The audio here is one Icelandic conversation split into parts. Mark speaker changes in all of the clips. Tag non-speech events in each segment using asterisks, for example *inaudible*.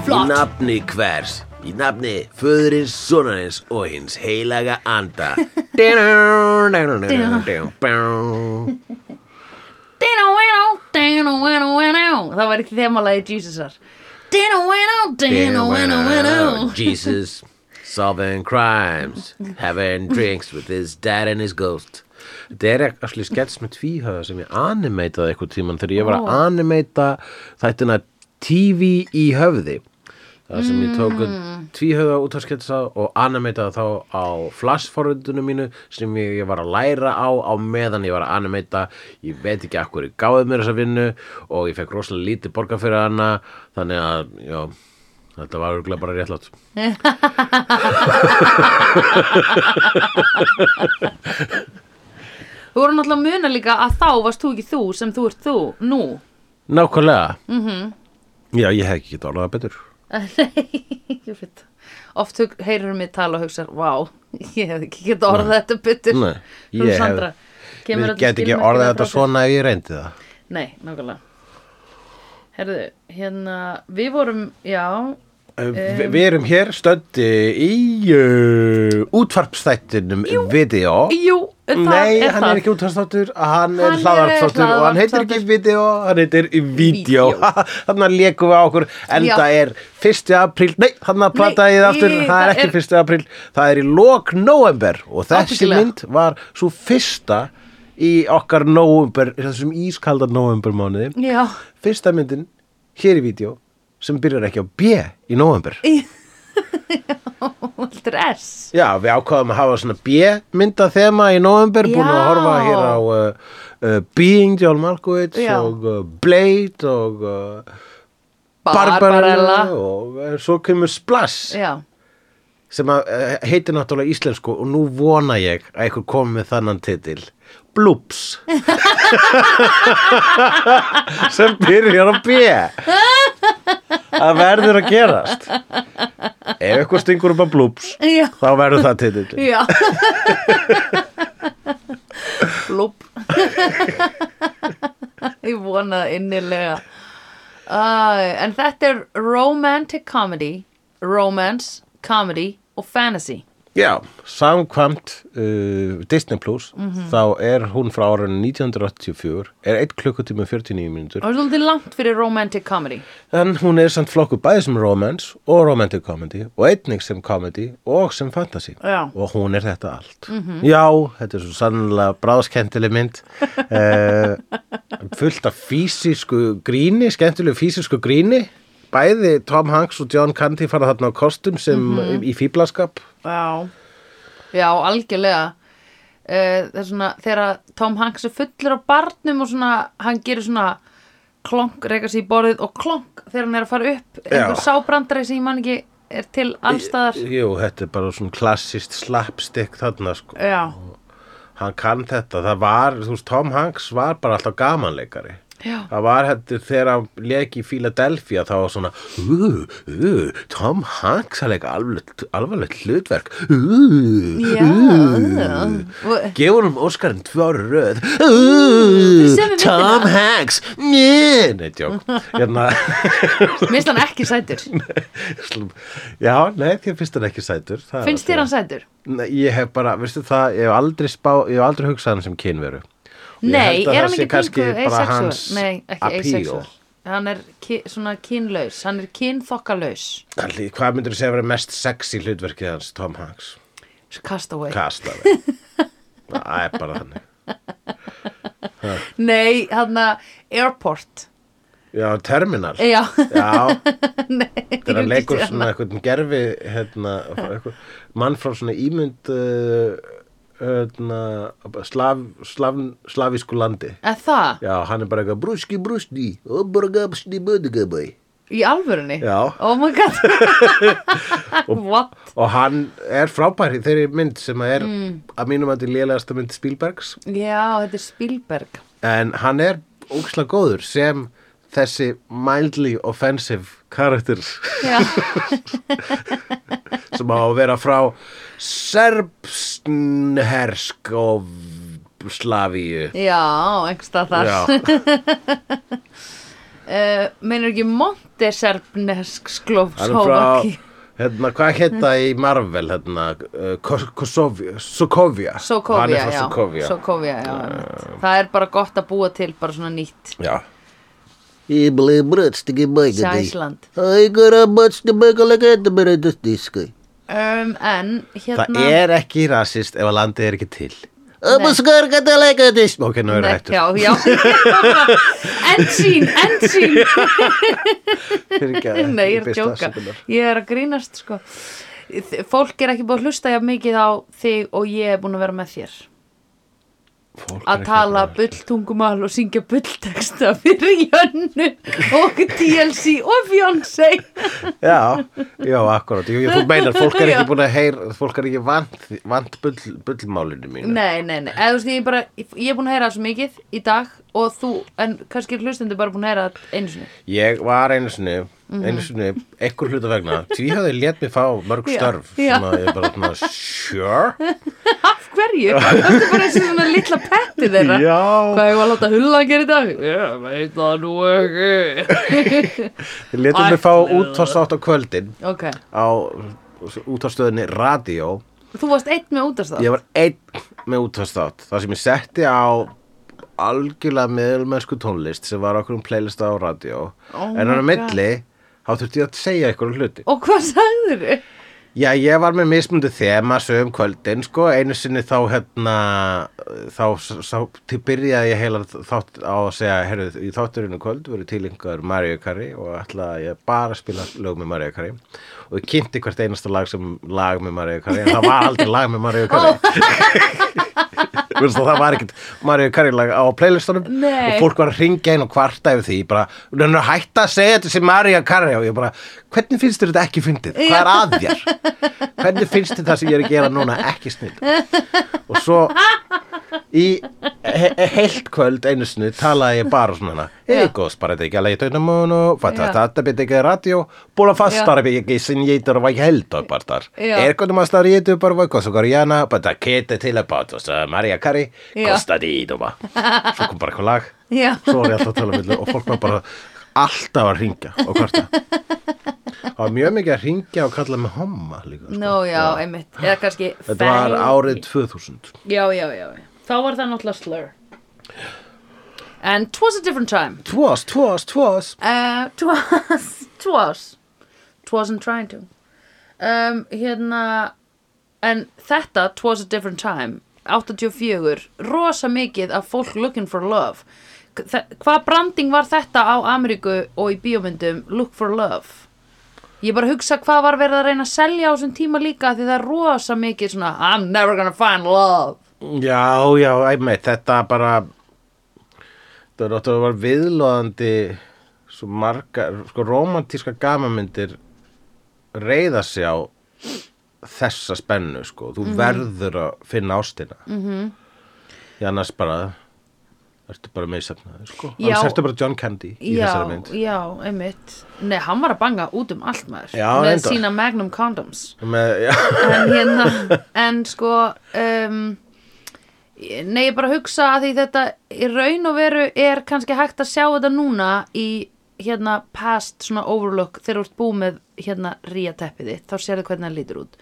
Speaker 1: nafni hvers Í nafni föðurins, sonarins og hins heilaga anda Þetta
Speaker 2: Það var ekki þemalagi Jesusar
Speaker 1: Jesus Solving crimes Having drinks with his dad and his ghost
Speaker 3: Þetta er allir skets með tvíhöða sem ég animeitaði eitthvað tíman þegar ég var að animeita þættina TV í höfði það sem ég tók tvíhöða útvarsketsa og animeitaði þá á flashforröndunum mínu sem ég, ég var að læra á á meðan ég var að animeita ég veit ekki akkur ég gáði mér þessa vinnu og ég fekk rosalega lítið borga fyrir hana þannig að já, þetta var örugglega bara réttlátt
Speaker 2: Þú voru náttúrulega að muna líka að þá varst þú ekki þú sem þú ert þú
Speaker 3: *laughs*
Speaker 2: nú
Speaker 3: Nákvæmlega -hmm. Já, ég hef ekki getað orðað það betur
Speaker 2: Nei, ég veit Oft hug- heyrir mig tala og hugsa Vá, ég hef ekki geta orðað þetta byttur
Speaker 3: Nei, ég hef- Við getum ekki orðað þetta svona ef ég reyndi það
Speaker 2: Nei, nákvæmlega Herðu, hérna, við vorum, já
Speaker 3: Vi, Við erum hér stöndi í uh, útvarpstættinum Video
Speaker 2: Jú, það
Speaker 3: Nei,
Speaker 2: er
Speaker 3: hann
Speaker 2: það
Speaker 3: er ekki útvarpstáttur, hann
Speaker 2: Hann
Speaker 3: er
Speaker 2: er
Speaker 3: hlaðarpstáttur og hann heitir ekki
Speaker 2: hlaðvarpsþáttur.
Speaker 3: Video, hann heitir Video
Speaker 2: Vídeó.
Speaker 3: *laughs* Þannig að lékum við á okkur, en
Speaker 2: Já.
Speaker 3: það er 1. apríl, nei, þannig að plataði
Speaker 2: Nei,
Speaker 3: það aftur,
Speaker 2: í-
Speaker 3: það er
Speaker 2: það
Speaker 3: ekki
Speaker 2: er-
Speaker 3: 1. apríl Það er í lok november og þessi
Speaker 2: Ábyggilega.
Speaker 3: mynd var svo fyrsta í okkar november, þessum ískalda novembermánuði
Speaker 2: Já, *laughs*
Speaker 3: fyrsta myndin hér í vídeo sem byrjar ekki á B í november
Speaker 2: þetta er S
Speaker 3: Já, við ákvaðum að hafa svona B-mynda þema í november, búin að
Speaker 2: Já.
Speaker 3: horfa hér á uh, uh, Being John Malkovich
Speaker 2: Já.
Speaker 3: og uh, Blade og uh,
Speaker 2: Barbarella
Speaker 3: og uh, svo kemur Splash
Speaker 2: Já,
Speaker 3: sem að, uh, heitir náttúrulega íslensku og nú vona ég að einhver komi með þannan titil Bloops *laughs* sem byrjar á B Það verður að gerast Ef eitthvað stingur upp að bloops
Speaker 2: já,
Speaker 3: þá verður það titill
Speaker 2: já Lúp Ég vona það innilega uh, En þetta er romantic comedy Romance, comedy og fantasy
Speaker 3: Já, samkvæmt uh, Disney Plus þá er hún frá árunni 1984 er 1 klukkutíma og 49 mínútur
Speaker 2: Það er svolítið langt fyrir romantic comedy
Speaker 3: en hún er samt flokku bæði sem romance og romantic comedy og einnig sem comedy og sem fantasy
Speaker 2: Já.
Speaker 3: og hún er þetta allt Já, þetta er svo sannlega bráðskendileg mynd uh, fullt af fysisku gríni skemmtilegu fysisku gríni bæði Tom Hanks og John Candy fara þarna á kostum sem í fíblaskap
Speaker 2: Já Já, algjörlega Eh, Það er svona, þegar Tom Hanks er fullur á barnum og svona, hann gerir svona klonk, reyka sig í borðið og klonk þegar hann er að fara upp einhver sábrandari sem ég man ekki er til allstaðar
Speaker 3: Jú, þetta er bara svona klassist slapstick þarna sko.
Speaker 2: Já,
Speaker 3: Hann kann þetta, það var, þú veist, Tom Hanks var bara alltaf gamanleikari.
Speaker 2: já,
Speaker 3: Það var hættu þegar hann leik í Philadelphia þá var svona uh, uh, Tom Hanks að leika alvarlegt alvarlegt hlutverk uh,
Speaker 2: já Og-
Speaker 3: Gefur hann Óskarinn tvö ári röð uh,
Speaker 2: sömu
Speaker 3: Tom
Speaker 2: myndina.
Speaker 3: Hanks Njö, Nei, tjók Hérna, *laughs*
Speaker 2: Mér finnst hann ekki sætur
Speaker 3: slum- Já, nei, þér finnst hann ekki sætur það er alveg-
Speaker 2: Finnst þér hann sætur?
Speaker 3: Nei, ég hef bara, veistu það, ég hef aldrei spá, ég hef aldrei hugsað um hann sem kynveru. Og ég
Speaker 2: Nei,
Speaker 3: held að
Speaker 2: er
Speaker 3: það
Speaker 2: hann
Speaker 3: sé
Speaker 2: ekki pingu
Speaker 3: kannski bara
Speaker 2: asexual?
Speaker 3: hans
Speaker 2: Nei, ekki
Speaker 3: appeal.
Speaker 2: asexual Hann er ki- svona kynlaus, hann er kynfokkalaus
Speaker 3: Alli, Hvað myndur þú segja að vera mest sexy hlutverkið hans, Tom Hanks?
Speaker 2: Castaway
Speaker 3: Kastaði.
Speaker 2: *laughs*
Speaker 3: Það er bara þannig.
Speaker 2: Nei, hann airport
Speaker 3: Já,
Speaker 2: *laughs*
Speaker 3: Terminal.
Speaker 2: Já,
Speaker 3: Já,
Speaker 2: nei
Speaker 3: það er
Speaker 2: ég
Speaker 3: að leikur
Speaker 2: sé
Speaker 3: svona
Speaker 2: hana.
Speaker 3: eitthvað gerfi, hérna, eitthvað, mann frá svona ímynd, uh, hérna, slav, slav, slavísku landi.
Speaker 2: Er það?
Speaker 3: Já, hann er bara eitthvað brúski, brúski, og borgabsni, bödugabæ.
Speaker 2: Í alvörunni?
Speaker 3: Já.
Speaker 2: Oh my god What?
Speaker 3: *laughs* og hann er frábær í þeirri mynd sem að er
Speaker 2: Mm.
Speaker 3: að mínum að þetta lélegasta mynd Spielbergs
Speaker 2: Já, þetta er Spielberg
Speaker 3: en hann er ógislega góður sem þessi mildly offensive karakter
Speaker 2: Já,
Speaker 3: *laughs* sem á að vera frá serbsnhersk og slavíu
Speaker 2: *laughs* Já einhverstað þar
Speaker 3: Já,
Speaker 2: uh, meinar ekki Monteserbnesk
Speaker 3: hann er frá
Speaker 2: Slovaki
Speaker 3: hérna, hvað heita í Marvel hérna, uh, Kos- Kosovia Sokovia, hann
Speaker 2: Sokovia,
Speaker 3: er frá
Speaker 2: já,
Speaker 3: Sokovia Eh.
Speaker 2: Sokovia já, einmitt. það er bara gott að búa til bara svona nýtt
Speaker 3: já,
Speaker 4: Ебли, брат, стыки байка дай.
Speaker 2: Sæsland
Speaker 4: Ай, гора, бац, ты байка лака, ты бара, ты стыска.
Speaker 2: um, en
Speaker 3: það
Speaker 2: hérna
Speaker 3: er ekki rasist ef að landið er ekki til
Speaker 4: А бускар ката лака, ты
Speaker 3: ok, nú er
Speaker 2: Nei,
Speaker 3: hættur
Speaker 2: já, já *laughs* end sín, end sín
Speaker 3: Fyrirgefðu,
Speaker 2: *laughs* Nei, ég er að
Speaker 3: biðst
Speaker 2: djóka
Speaker 3: afsökunar.
Speaker 2: Ég er að grínast sko Þ- Fólk er ekki búið að hlusta jafn mikið á þig og ég er búin að vera með þér
Speaker 3: Fólk er
Speaker 2: að
Speaker 3: ekki
Speaker 2: tala
Speaker 3: bara-
Speaker 2: bulltungumál og syngja bullteksta *laughs* fyrir Jönnu og TLC og Beyoncé
Speaker 3: Já, já, akkurat, jú, ég- þú meinar fólk er
Speaker 2: *laughs* Já.
Speaker 3: ekki búin að heyra, fólk er ekki vant, vant bull, bullmálinu mínu
Speaker 2: Nei, nei, nei, eða þú veist ég, bara, ég er búin að heyra það svo mikið í dag og þú, en kannski er hlustendur bara búin að heyra það einu sinni
Speaker 3: Ég var einu sinni,
Speaker 2: Mhm.
Speaker 3: einu sinni, ekkur hluta vegna, því hafði létt mig fá mörg
Speaker 2: Já,
Speaker 3: störf
Speaker 2: já.
Speaker 3: sem að ég bara, svona, sure
Speaker 2: *laughs* Af *laughs* hverju? Það er bara þessi svona litla petti þeirra
Speaker 3: Já.
Speaker 2: Hvað ég var að láta hulla að gera í dag? Ég veit það nú ekki
Speaker 3: Ég létum mig fá
Speaker 2: Ætli það.
Speaker 3: útvarstátt á kvöldin
Speaker 2: Ok,
Speaker 3: á útvarsstöðinni Radio
Speaker 2: þú varst eitt með útast
Speaker 3: Ég var einn með útvarstátt þar sem ég setti á algjörlega meðlmennsku tónlist sem var okkur um playlista á Radio
Speaker 2: Oh
Speaker 3: en
Speaker 2: my
Speaker 3: hann á
Speaker 2: God.
Speaker 3: milli þá þurfti ég að segja eitthvað hluti
Speaker 2: Og hvað sagður þau?
Speaker 3: Já, ég var með mismundu þema sögum kvöldin, sko, einu sinni þá hérna, þá, þá til byrjaði ég heila þátt á að segja, herru, í þátturinu í kvöld voru tilengur Mario Kari og ætla að ég bara að spila lög með Mario Kari og ég kynnti hvert einasta lag sem lag með Mario Kari, en það var aldrei lag með Mario Kari Veistu, það var ekkert Mario Kari lag á playlistunum
Speaker 2: Nei.
Speaker 3: og fólk var að ringja inn og kvarta yfir því bara, hann er hægt að segja þetta sem Mario Kari og ég bara, hvernig finnst þér þetta ekki fyndið? Hvað er að þér? Hvernig finnst þér það sem ég er að gera núna ekki snill? Og svo í he he heilt kvöld einu sinni talaði ég bara svona
Speaker 2: Já.
Speaker 3: Egos bara þetta ekki að leita utan mun og fatta
Speaker 2: Já.
Speaker 3: þetta byrja ekki að radio búla
Speaker 2: Já.
Speaker 3: fastar ekki ekki sin ég þarf að helda bara þar
Speaker 2: Já.
Speaker 3: er hvernig maður stær ég þarf bara að kosa garjana bara það geti til að báta og það e Maria Kari
Speaker 2: Já.
Speaker 3: kosta því doma svo kom bara eitthvað lag
Speaker 2: Já.
Speaker 3: svo var ég alltaf að tala um þetta og fólk var bara alltaf að ringja og kvarta það var mjög mikið að ringja og kalla mig homma líka sko.
Speaker 2: Nú, já, einmitt, eða kannski
Speaker 3: þetta var
Speaker 2: fæ-
Speaker 3: árið 2000
Speaker 2: Já, já, já, já. þá var það náttúrulega slur And twas a different time
Speaker 3: Twas, twas, twas
Speaker 2: uh, Twas, *laughs* twas Twasn't trying to um, Hérna En þetta, twas a different time 84, rosa mikið af fólk looking for love K- þa- Hvað branding var þetta á Ameríku og í bíómyndum Look for love? Ég bara hugsa hvað var verið að reyna að selja á þessum tíma líka því það er rosa mikið svona I'm never gonna find love
Speaker 3: Já, já, einmitt, þetta bara þetta var- þetta var viðlóðandi svo margar, sko romantíska gamamyndir reyða sig á þessa spennu, sko,
Speaker 2: Mhm.
Speaker 3: þú verður að finna ástina mm -hmm. annars bara ertu bara meðsefnaði, sko
Speaker 2: Já.
Speaker 3: annars ertu bara John Candy í
Speaker 2: já,
Speaker 3: þessari mynd
Speaker 2: já, einmitt Nei, hann var að banga út um allt maður
Speaker 3: Já,
Speaker 2: með
Speaker 3: reyndar.
Speaker 2: sína Magnum Condoms
Speaker 3: Með, *laughs* já,
Speaker 2: en hérna en sko um, nei ég bara hugsa að því þetta í raun og veru er kannski hægt að sjá þetta núna í hérna past svona overlook þegar þú ert búið með hérna ríja teppið þitt þá sérðu hvernig það lítur út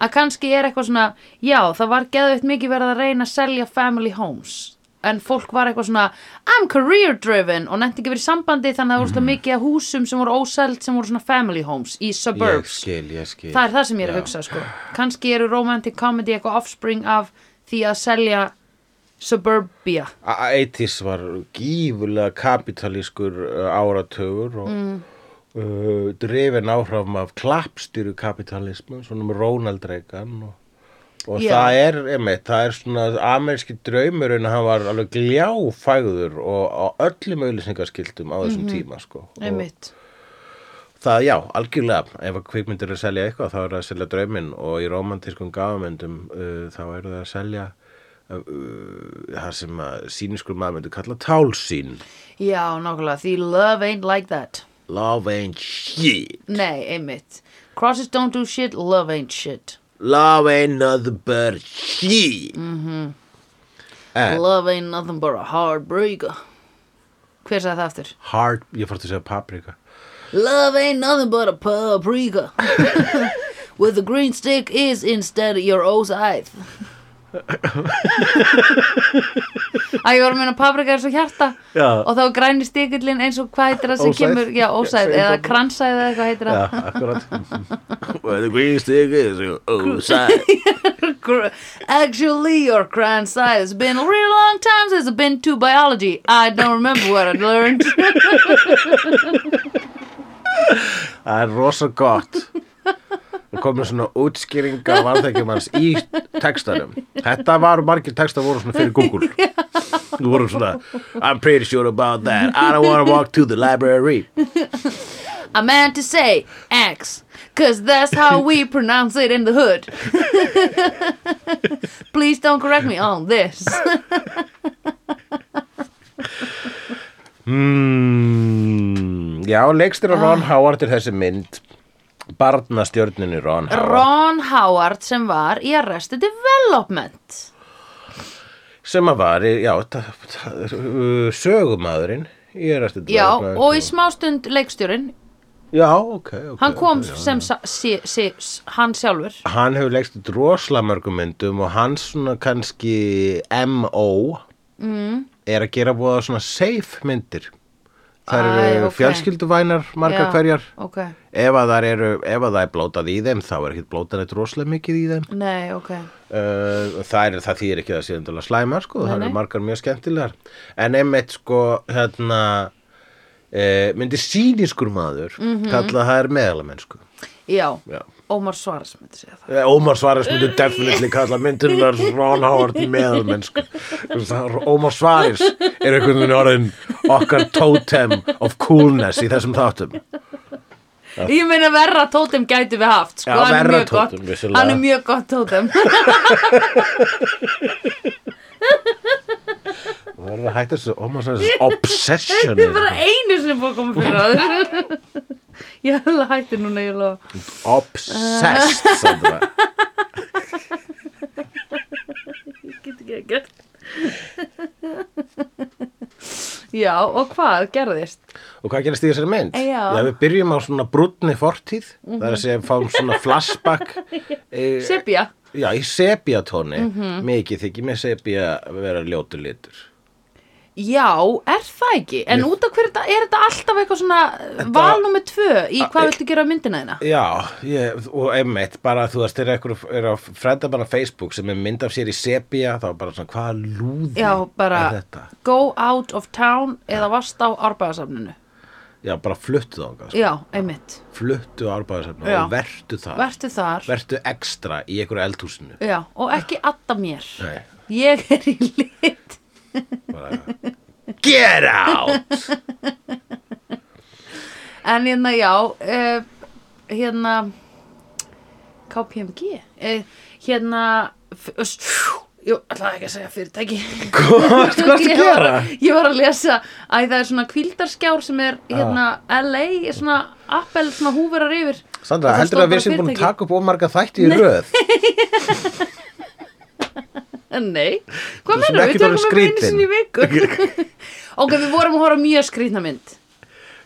Speaker 2: að kannski er eitthvað svona já það var geðveitt mikið verið að reyna að selja family homes en fólk var eitthvað svona I'm career driven og nefndi ekki verið í sambandi þannig að það voru
Speaker 3: Mhm.
Speaker 2: svona mikið af húsum sem voru óseld sem voru svona family homes í
Speaker 3: ég
Speaker 2: suburbs
Speaker 3: skil, ég skil
Speaker 2: það er það sem ég er að
Speaker 3: Já.
Speaker 2: hugsa sko. kannski eru romantic comedy eitthvað offspring af því að selja suburbia
Speaker 3: A- 80s var gífurlega kapitalískur uh, áratugur og
Speaker 2: Mm.
Speaker 3: uh, drefin áhrafum af klappstýru kapitalismu, svona með Ronald Reagan og, og
Speaker 2: Já.
Speaker 3: það er einmitt, það er svona ameríski draumurinn, hann var alveg gljáfægður og á öllum auðlýsingaskiltum á þessum tíma sko. og
Speaker 2: Mhm. einmitt
Speaker 3: það já, algjörlega, ef að kvikmyndir er að selja eitthvað þá er það að selja drauminn og í romantískum gafamyndum uh, þá eru það að selja uh, það sem að síniskur maður myndi kalla tálsýn
Speaker 2: já nákvæmlega því love ain't like that
Speaker 3: love ain't shit
Speaker 2: nei einmitt crosses don't do shit love ain't shit
Speaker 3: love ain't nothing but shit mm -hmm. en,
Speaker 2: love ain't nothing but a hard breaker Hver sagði það aftur?
Speaker 3: Hard, ég fór til að segja paprika
Speaker 4: Love ain't nothing but a
Speaker 2: *laughs*
Speaker 4: paprika. With the green stick is instead your old
Speaker 3: *laughs*
Speaker 4: scythe.
Speaker 2: Æ, ég var að meina paprika er svo hjarta
Speaker 3: Já.
Speaker 2: og þá er græni stikillin eins og hvað heitir það sem
Speaker 3: Ósæð.
Speaker 2: kemur, já, ósæð
Speaker 3: Segðu
Speaker 2: eða
Speaker 3: það.
Speaker 2: kransæð eða eitthvað heitir
Speaker 3: Já,
Speaker 2: það
Speaker 3: akkurat *laughs*
Speaker 1: Well, the green stick is your
Speaker 3: oh,
Speaker 1: outside.
Speaker 2: Gr- Actually, your kransæð has been a real long time since I've been to biology I don't remember what I learned
Speaker 3: Það er rosa gott Það komið svona útskýringa varðekjum hans í textanum Þetta var margir textar voru svona fyrir Google Þú voru svona
Speaker 1: I'm pretty sure about that. I don't want to walk to the library.
Speaker 2: I meant to say X, cause that's how
Speaker 3: *laughs*
Speaker 2: we pronounce it in the hood. *laughs* Please don't correct me on this.
Speaker 3: mm, Já, leikstir að
Speaker 2: Ah.
Speaker 3: Ron Howard er þessi mynd Barnastjörninni Ron Howard
Speaker 2: Ron Howard sem var í Arrested Development.
Speaker 3: sem að var, í- já, ta- ta- uh, sögumadurinn Ég er eftir
Speaker 2: Já, og í smástund leikstjórinn,
Speaker 3: Já, ok, ok
Speaker 2: hann kom
Speaker 3: ok, já.
Speaker 2: sem sa- sí, sí, s- hann sjálfur.
Speaker 3: hann hefur leikst út rosalega mörgum myndum og hans svona kannski M.O. Mm. er að gera búið svona safe myndir það
Speaker 2: Æ,
Speaker 3: eru
Speaker 2: ok.
Speaker 3: fjölskylduvænar margar
Speaker 2: Já,
Speaker 3: hverjar
Speaker 2: Ok,
Speaker 3: ef að, þær eru, ef að það er blótað í þeim þá er ekkert blótað eitt rosalega mikið í þeim
Speaker 2: nei, ok.
Speaker 3: uh, það, er, það þýðir ekki að sé endalega slæmar sko, það
Speaker 2: nei.
Speaker 3: eru margar mjög skemmtilegar en einmitt sko hérna Uh, myndi sínískur maður mm
Speaker 2: Mhm.
Speaker 3: -hmm. kalla það er meðalamennsku
Speaker 2: Já,
Speaker 3: Já.
Speaker 2: Ómar Svaras myndi segja það.
Speaker 3: Eh, Ómar Svares myndi definitely kalla myndunar Ron Howard meðalmennsk Ómar Svares er einhvern veginn orðin okkar totem of coolness í þessum þáttum
Speaker 2: Ég meina verra tótem gæti við haft, sko,
Speaker 3: Já,
Speaker 2: hann er
Speaker 3: verra
Speaker 2: mjög
Speaker 3: tótem,
Speaker 2: gott.
Speaker 3: vissulega.
Speaker 2: Hann er mjög gott
Speaker 3: *laughs*
Speaker 2: tótem.
Speaker 3: Það verður að hætta þessu Ómar
Speaker 2: *laughs*
Speaker 3: Svares obsession
Speaker 2: Þetta er bara einu sem búið að koma fyrir á
Speaker 3: *laughs*
Speaker 2: þessu. Ég hefði hætti núna, ég lofa.
Speaker 3: obsessed sagði það.
Speaker 2: Ég get ekki að gert. Já, og hvað gerðist?
Speaker 3: og hvað gerist í þessari mynd?
Speaker 2: Já.
Speaker 3: við byrjum á svona brúnni fortíð það er að segja fáum svona
Speaker 2: *laughs*
Speaker 3: flashback e,
Speaker 2: Sepja.
Speaker 3: já, í sepiatóni
Speaker 2: Mhm.
Speaker 3: mikið þykir með sepia vera ljótu litur
Speaker 2: Já, er það ekki? En út af hverju þetta, er þetta alltaf eitthvað svona val nummer tvö í
Speaker 3: e-
Speaker 2: hvað viltu gera á myndina þína?
Speaker 3: Já, ég, og einmitt bara þú veist, þegar einhver er að frenda bara á Facebook sem er mynd af sér í sepia þá bara svona, hvaða lúði
Speaker 2: Já, bara
Speaker 3: er þetta?
Speaker 2: go out of town eða vast á árbæðasafninu.
Speaker 3: Já, bara fluttu þá,
Speaker 2: Já, einmitt.
Speaker 3: fluttu á árbæðasafn
Speaker 2: Já.
Speaker 3: og vertu það,
Speaker 2: Vertu þar.
Speaker 3: vertu ekstra í einhverju eldhúsinu
Speaker 2: Já, og ekki adda mér.
Speaker 3: Nei,
Speaker 2: Ég er í lit.
Speaker 3: bara Get
Speaker 2: *laughs*
Speaker 3: out!
Speaker 2: En hérna, já, uh, hérna, KPMG, uh, hérna, f- öss, fjú, jú, ætlaði ekki að segja fyrirtæki.
Speaker 3: Hvað hvað ertu að
Speaker 2: Ég var,
Speaker 3: gera?
Speaker 2: að- ég var að lesa, æ, það er svona kvildarskjár sem er,
Speaker 3: Ah.
Speaker 2: hérna, LA, er svona Apple, svona húverar yfir.
Speaker 3: Sandra,
Speaker 2: Og það
Speaker 3: heldur
Speaker 2: stóð
Speaker 3: að við
Speaker 2: bara
Speaker 3: séum búin að
Speaker 2: fyrirtæki.
Speaker 3: taka upp ómarga þætti í röð
Speaker 2: En Nei, hvað
Speaker 3: Þú sem
Speaker 2: mennum,
Speaker 3: ekkert
Speaker 2: við
Speaker 3: orðin
Speaker 2: tökum um einu
Speaker 3: skrítin.
Speaker 2: sinni í viku. *laughs* ok, við vorum að horfa á mjög skrýtna mynd.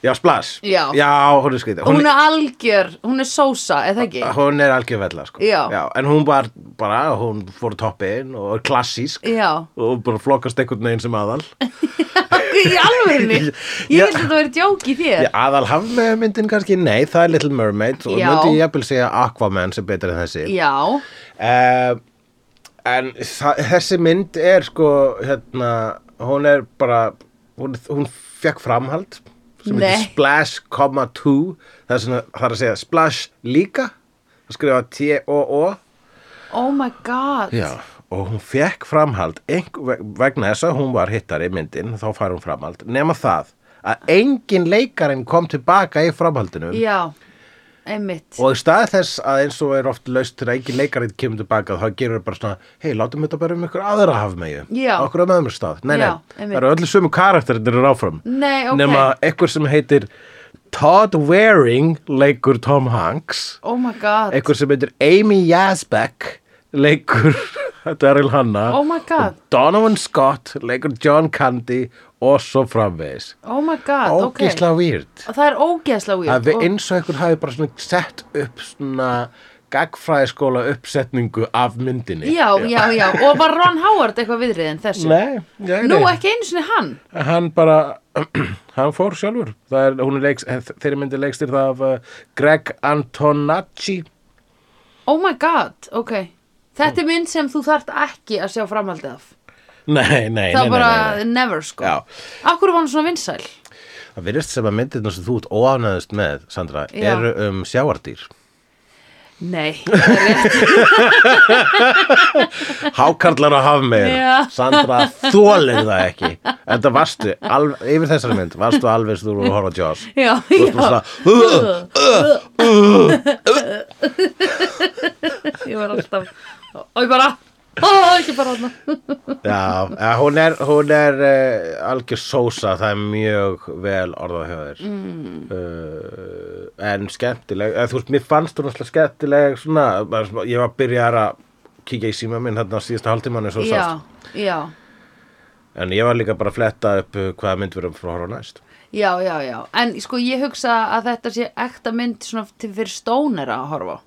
Speaker 3: Já, splass
Speaker 2: Já.
Speaker 3: hún er skrítið
Speaker 2: Hún er algjör, hún er sósa, eða ekki?
Speaker 3: Hún er algjörvella sko
Speaker 2: Já.
Speaker 3: En hún var bara, hún fór toppin og er klassísk
Speaker 2: Já,
Speaker 3: og bara flokkast einhvern veginn sem aðal
Speaker 2: í alvegni.
Speaker 3: *laughs*
Speaker 2: Ég
Speaker 3: Já.
Speaker 2: held að þetta verið djók í þér.
Speaker 3: Ég aðal hafmeyjamyndin kannski, nei það er Little Mermaid og
Speaker 2: Já.
Speaker 3: myndi ég jafnvel segja Aquaman sem betur en þessi
Speaker 2: Já,
Speaker 3: uh, en þa- þessi mynd er sko hérna, hún er bara hún, hún fekk framhald sem
Speaker 2: Nei.
Speaker 3: heitir Splash, 2 það er svona, það er að segja Splash líka það skrifa T-O-O
Speaker 2: oh my god
Speaker 3: Já, og hún fekk framhald einhver, vegna þess að hún var hittari í myndin, þá fær hún framhald nema það að engin leikarinn kom tilbaka í framhaldinu
Speaker 2: Já, einmitt
Speaker 3: og í stað þess að eins og er oft laust þegar engin leikarinn kemur tilbaka þá gerur bara svona, hei, látum þetta bara um ykkur aðra hafmeyju,
Speaker 2: Já.
Speaker 3: okkur um öðrum stað nei, nei,
Speaker 2: Já, einmitt.
Speaker 3: það eru öllu sömu karakterinn eru áfram
Speaker 2: Nei, ok.
Speaker 3: nema eitthvað sem heitir Todd Waring leikur Tom Hanks *laughs*
Speaker 2: Oh my god
Speaker 3: einhver sem heitir Amy Yazbek leikur *laughs* Daryl Hanna
Speaker 2: Oh my god,
Speaker 3: og Donovan Scott leikur John Candy og svo framvegis
Speaker 2: oh my god, ok
Speaker 3: ógislega weird
Speaker 2: Og Það er ógeðslega weird
Speaker 3: að við
Speaker 2: og-
Speaker 3: eins og einhvern hafi bara svona sett upp svona gagfræðiskóla uppsetningu af myndinni
Speaker 2: Já, já, já, og var Ron Howard eitthvað viðriðin þessu?
Speaker 3: Nei, nei, nei.
Speaker 2: Nú ekki einu sinni hann
Speaker 3: hann bara *clears throat* hann fór sjálfur það er, hún er leiks, þeirri myndi leikstir það af uh, Greg Antonacci
Speaker 2: Oh my god, ok Þetta er mynd sem þú þart ekki að sjá framhaldið af
Speaker 3: nei, nei, nei,
Speaker 2: Það er
Speaker 3: nei,
Speaker 2: bara
Speaker 3: nei,
Speaker 2: never sko
Speaker 3: Já.
Speaker 2: Akkur var hann svona vinsæl
Speaker 3: nei. það virðist sem að myndirna sem þú ert óafnæðust með Sandra,
Speaker 2: Já.
Speaker 3: eru um sjáardýr *laughs*
Speaker 2: Nei, það er rétt
Speaker 3: hákarlar á
Speaker 2: Já.
Speaker 3: hafmeir Sandra þólið það ekki en það varstu, alveg, yfir þessari mynd varstu alveg sem þú voru að horfa á Jaws
Speaker 2: Já,
Speaker 3: Þú varst bara
Speaker 2: já,
Speaker 3: svona, "Ugh."
Speaker 2: ég var alltaf Og ég bara, ó, ekki bara hann
Speaker 3: Já, eh, hún er, hún er uh, algjör sósa, það er mjög vel orðað hjá þér mm.
Speaker 2: Mm.
Speaker 3: en skemmtileg eða, þú veist, mér fannst hún alltaf skemmtileg svona, bara svona- ég var að byrja að kíkja í síma minn þarna á síðasta hálftímann eins og
Speaker 2: Já,
Speaker 3: sást.
Speaker 2: já,
Speaker 3: en ég var líka bara að fletta upp eh, hvaða mynd við erum frá að horfa á næst
Speaker 2: já, já, já En sko ég hugsa að þetta sé ekta mynd svona til fyrir stónera að horfa á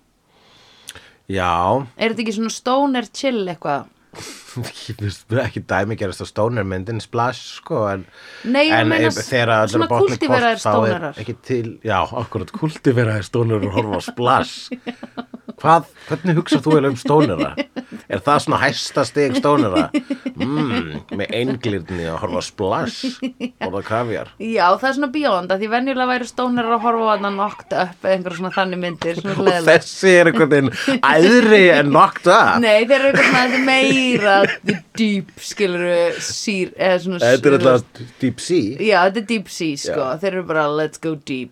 Speaker 3: Já, *laughs*
Speaker 2: Er þetta ekki svona stóner chill eitthvað?
Speaker 3: ég finnst ekki dæmi gerast á stónir myndin Splash sko en,
Speaker 2: Nei, ég
Speaker 3: en
Speaker 2: meina
Speaker 3: ef- þegar að
Speaker 2: svona
Speaker 3: öllu botni hvolft, þá er
Speaker 2: kúltiveraðir stónarar.
Speaker 3: ekki til, já, akkurat kultiveraðir stónarar og horfa á
Speaker 2: *laughs*
Speaker 3: Splash Hvað, hvernig hugsað þú eiginlega um stónara? Er það svona hæsta stig stónara? Mm, með englirni að horfa á Splash Borða kafjar
Speaker 2: Já, það er svona beyond að því venjulega væri stónerar að horfa á hann að nokta upp eða einhver svona þannig myndir svona
Speaker 3: Og
Speaker 2: gleðilega.
Speaker 3: þessi er einhvern veginn æðri en nokt að
Speaker 2: Nei, þeir eru eitthvað svona aðeins meira the deep, skilur sír, eða svona
Speaker 3: Þetta er alltaf Deep Sea
Speaker 2: Já, þetta er deep sea, sko. Þeir eru bara let's go deep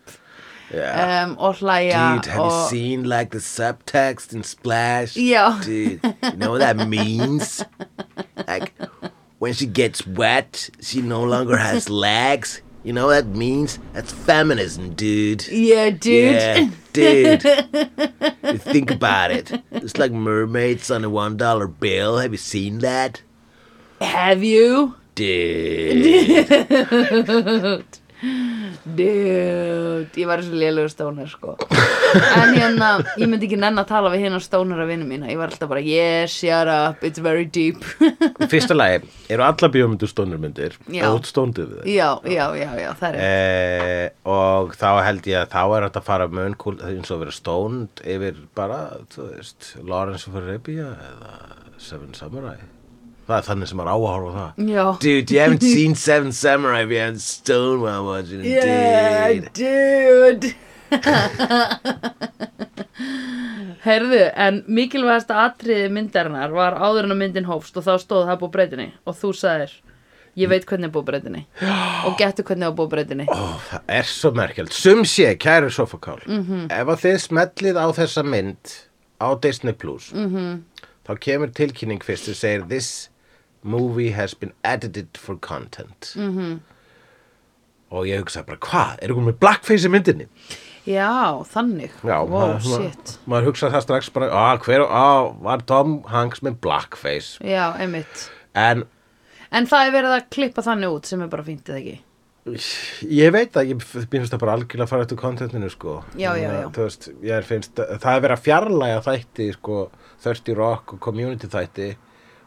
Speaker 3: yeah.
Speaker 2: um, og hlæja
Speaker 3: Dude, have you
Speaker 2: og...
Speaker 3: seen like the subtext in Splash?
Speaker 2: Já.
Speaker 1: Dude, you know what that means? Like, when she gets wet, she no longer
Speaker 2: *laughs*
Speaker 1: has legs. You know what that means? That's feminism, dude.
Speaker 2: Yeah, dude.
Speaker 1: Yeah, dude. You
Speaker 2: *laughs*
Speaker 1: Think about it. It's like mermaids on a one dollar bill. Have you seen that?
Speaker 2: Have you?
Speaker 1: Dude.
Speaker 2: *laughs* Dude, ég var þessi lélugur stónar sko
Speaker 3: *laughs*
Speaker 2: En hérna, ég myndi ekki nenn að tala við hérna stónar að vinnu mína Ég var alltaf bara, yes, shut up, it's very deep *laughs*
Speaker 3: Í fyrsta lagi eru alla bíómyndir stónurmyndir
Speaker 2: Já.
Speaker 3: og stóndið við þeim
Speaker 2: Já, já, já, já, það er
Speaker 3: Eh, og þá held ég að þá er þetta að fara mun kúl eins og vera stónd yfir bara, þú veist, Lawrence of Arabia eða Seven Samurai það er þannig sem maður á að horfa á það
Speaker 2: Já
Speaker 1: Dude, you
Speaker 3: *laughs*
Speaker 1: haven't seen Seven Samurai, but you haven't stoned while watching it,
Speaker 2: Yeah,
Speaker 1: dude.
Speaker 2: *laughs* dude Herðu, en mikilvægasta atriði myndarinnar var áður en að myndin hófst og þá stóð það búið breytinni og þú sagðir, ég veit hvernig er búið *gasps* breytinni og getur hvernig er búið breytinni
Speaker 3: Ó, það er svo merkjöld. Sum sé, kæru sofakál,
Speaker 2: Mhm.
Speaker 3: ef að þið smellið á þessa mynd á Disney Plus,
Speaker 2: Mhm.
Speaker 3: -hmm. þá kemur tilkynning fyrst sem segir This movie has been edited for content. -hmm.
Speaker 2: Mhm.
Speaker 3: Og ég hugsa bara, hvað? Er hún með blackface í myndinni?
Speaker 2: Já, þannig
Speaker 3: Já,
Speaker 2: wow,
Speaker 3: maður-
Speaker 2: shit
Speaker 3: Maður hugsa það strax bara, að hver, að var Tom Hanks með blackface?
Speaker 2: Já, einmitt
Speaker 3: En
Speaker 2: En það er verið að klippa þannig út sem er bara fínt eða ekki
Speaker 3: Ég veit það, ég mér finnst það bara algjörlega að fara eftir kontentinu sko.
Speaker 2: Já, já, já.
Speaker 3: Þú veist, ég finnst, það er verið að fjarlæga þætti sko, 30 Rock og Community þætti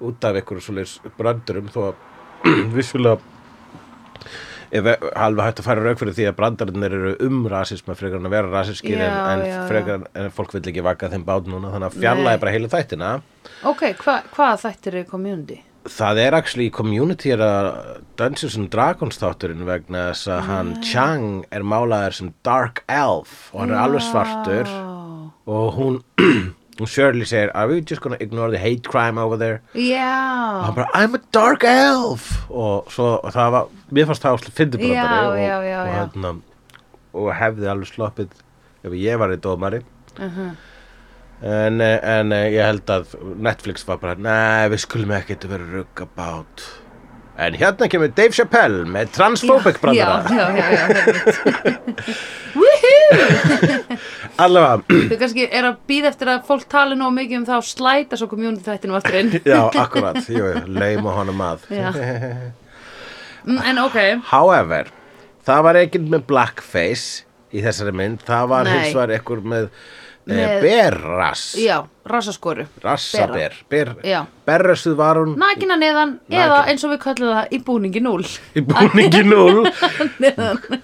Speaker 3: út af einhverju svoleiðis brandurum þó að *clears throat* vissulega ef alveg hægt að fara rauk fyrir því að brandarnir eru um rasisma frekar en að vera rasiskir en,
Speaker 2: Já,
Speaker 3: en,
Speaker 2: já, já.
Speaker 3: frekar, en fólk vill ekki vaka þeim bát núna þannig að fjarlæga
Speaker 2: Nei.
Speaker 3: bara heilu þættina
Speaker 2: Ok, hva, hvað þættir er community?
Speaker 3: Það er actually í community er að Dungeons and Dragons þátturinn vegna þess að hann
Speaker 2: Ah.
Speaker 3: Chang er málaður sem Dark Elf og hann er alveg svartur og hún, *clears throat* hún Shirley segir Are we just gonna ignore the hate crime over there?
Speaker 2: Já
Speaker 3: Og hann bara I'm a Dark Elf og svo og það var, mér fannst það áslega fyndi
Speaker 2: Já,
Speaker 3: brandari og,
Speaker 2: já, já,
Speaker 3: og,
Speaker 2: já.
Speaker 3: hérna, og hefði alveg sloppið ef ég var í dómari
Speaker 2: Uh-huh.
Speaker 3: En, eh, en eh, ég held að Netflix var bara, nei, við skulum ekkert vera rugg about. En hérna kemur Dave Chappelle með transphobic brandara.
Speaker 2: Já, já, já, já, já. Woohoo!
Speaker 3: allavega,
Speaker 2: Þau kannski er að býða eftir að fólk tali nóg mikið um það og slæta svo community þættinum aftur inn.
Speaker 3: já, akkurat jú, jú, lauma honum að
Speaker 2: Já. Mm, En ok,
Speaker 3: However, það var ekkert með blackface í þessari mynd, það var
Speaker 2: Nei.
Speaker 3: hins var ekkur með, með
Speaker 2: Með-
Speaker 3: berras,
Speaker 2: já, rasaskoru.
Speaker 3: rassaber, ber,
Speaker 2: Já.
Speaker 3: berrasuð var hún
Speaker 2: Nakina neðan eða eins og við kallum það í búningi *laughs* 0.
Speaker 3: í búningi 0,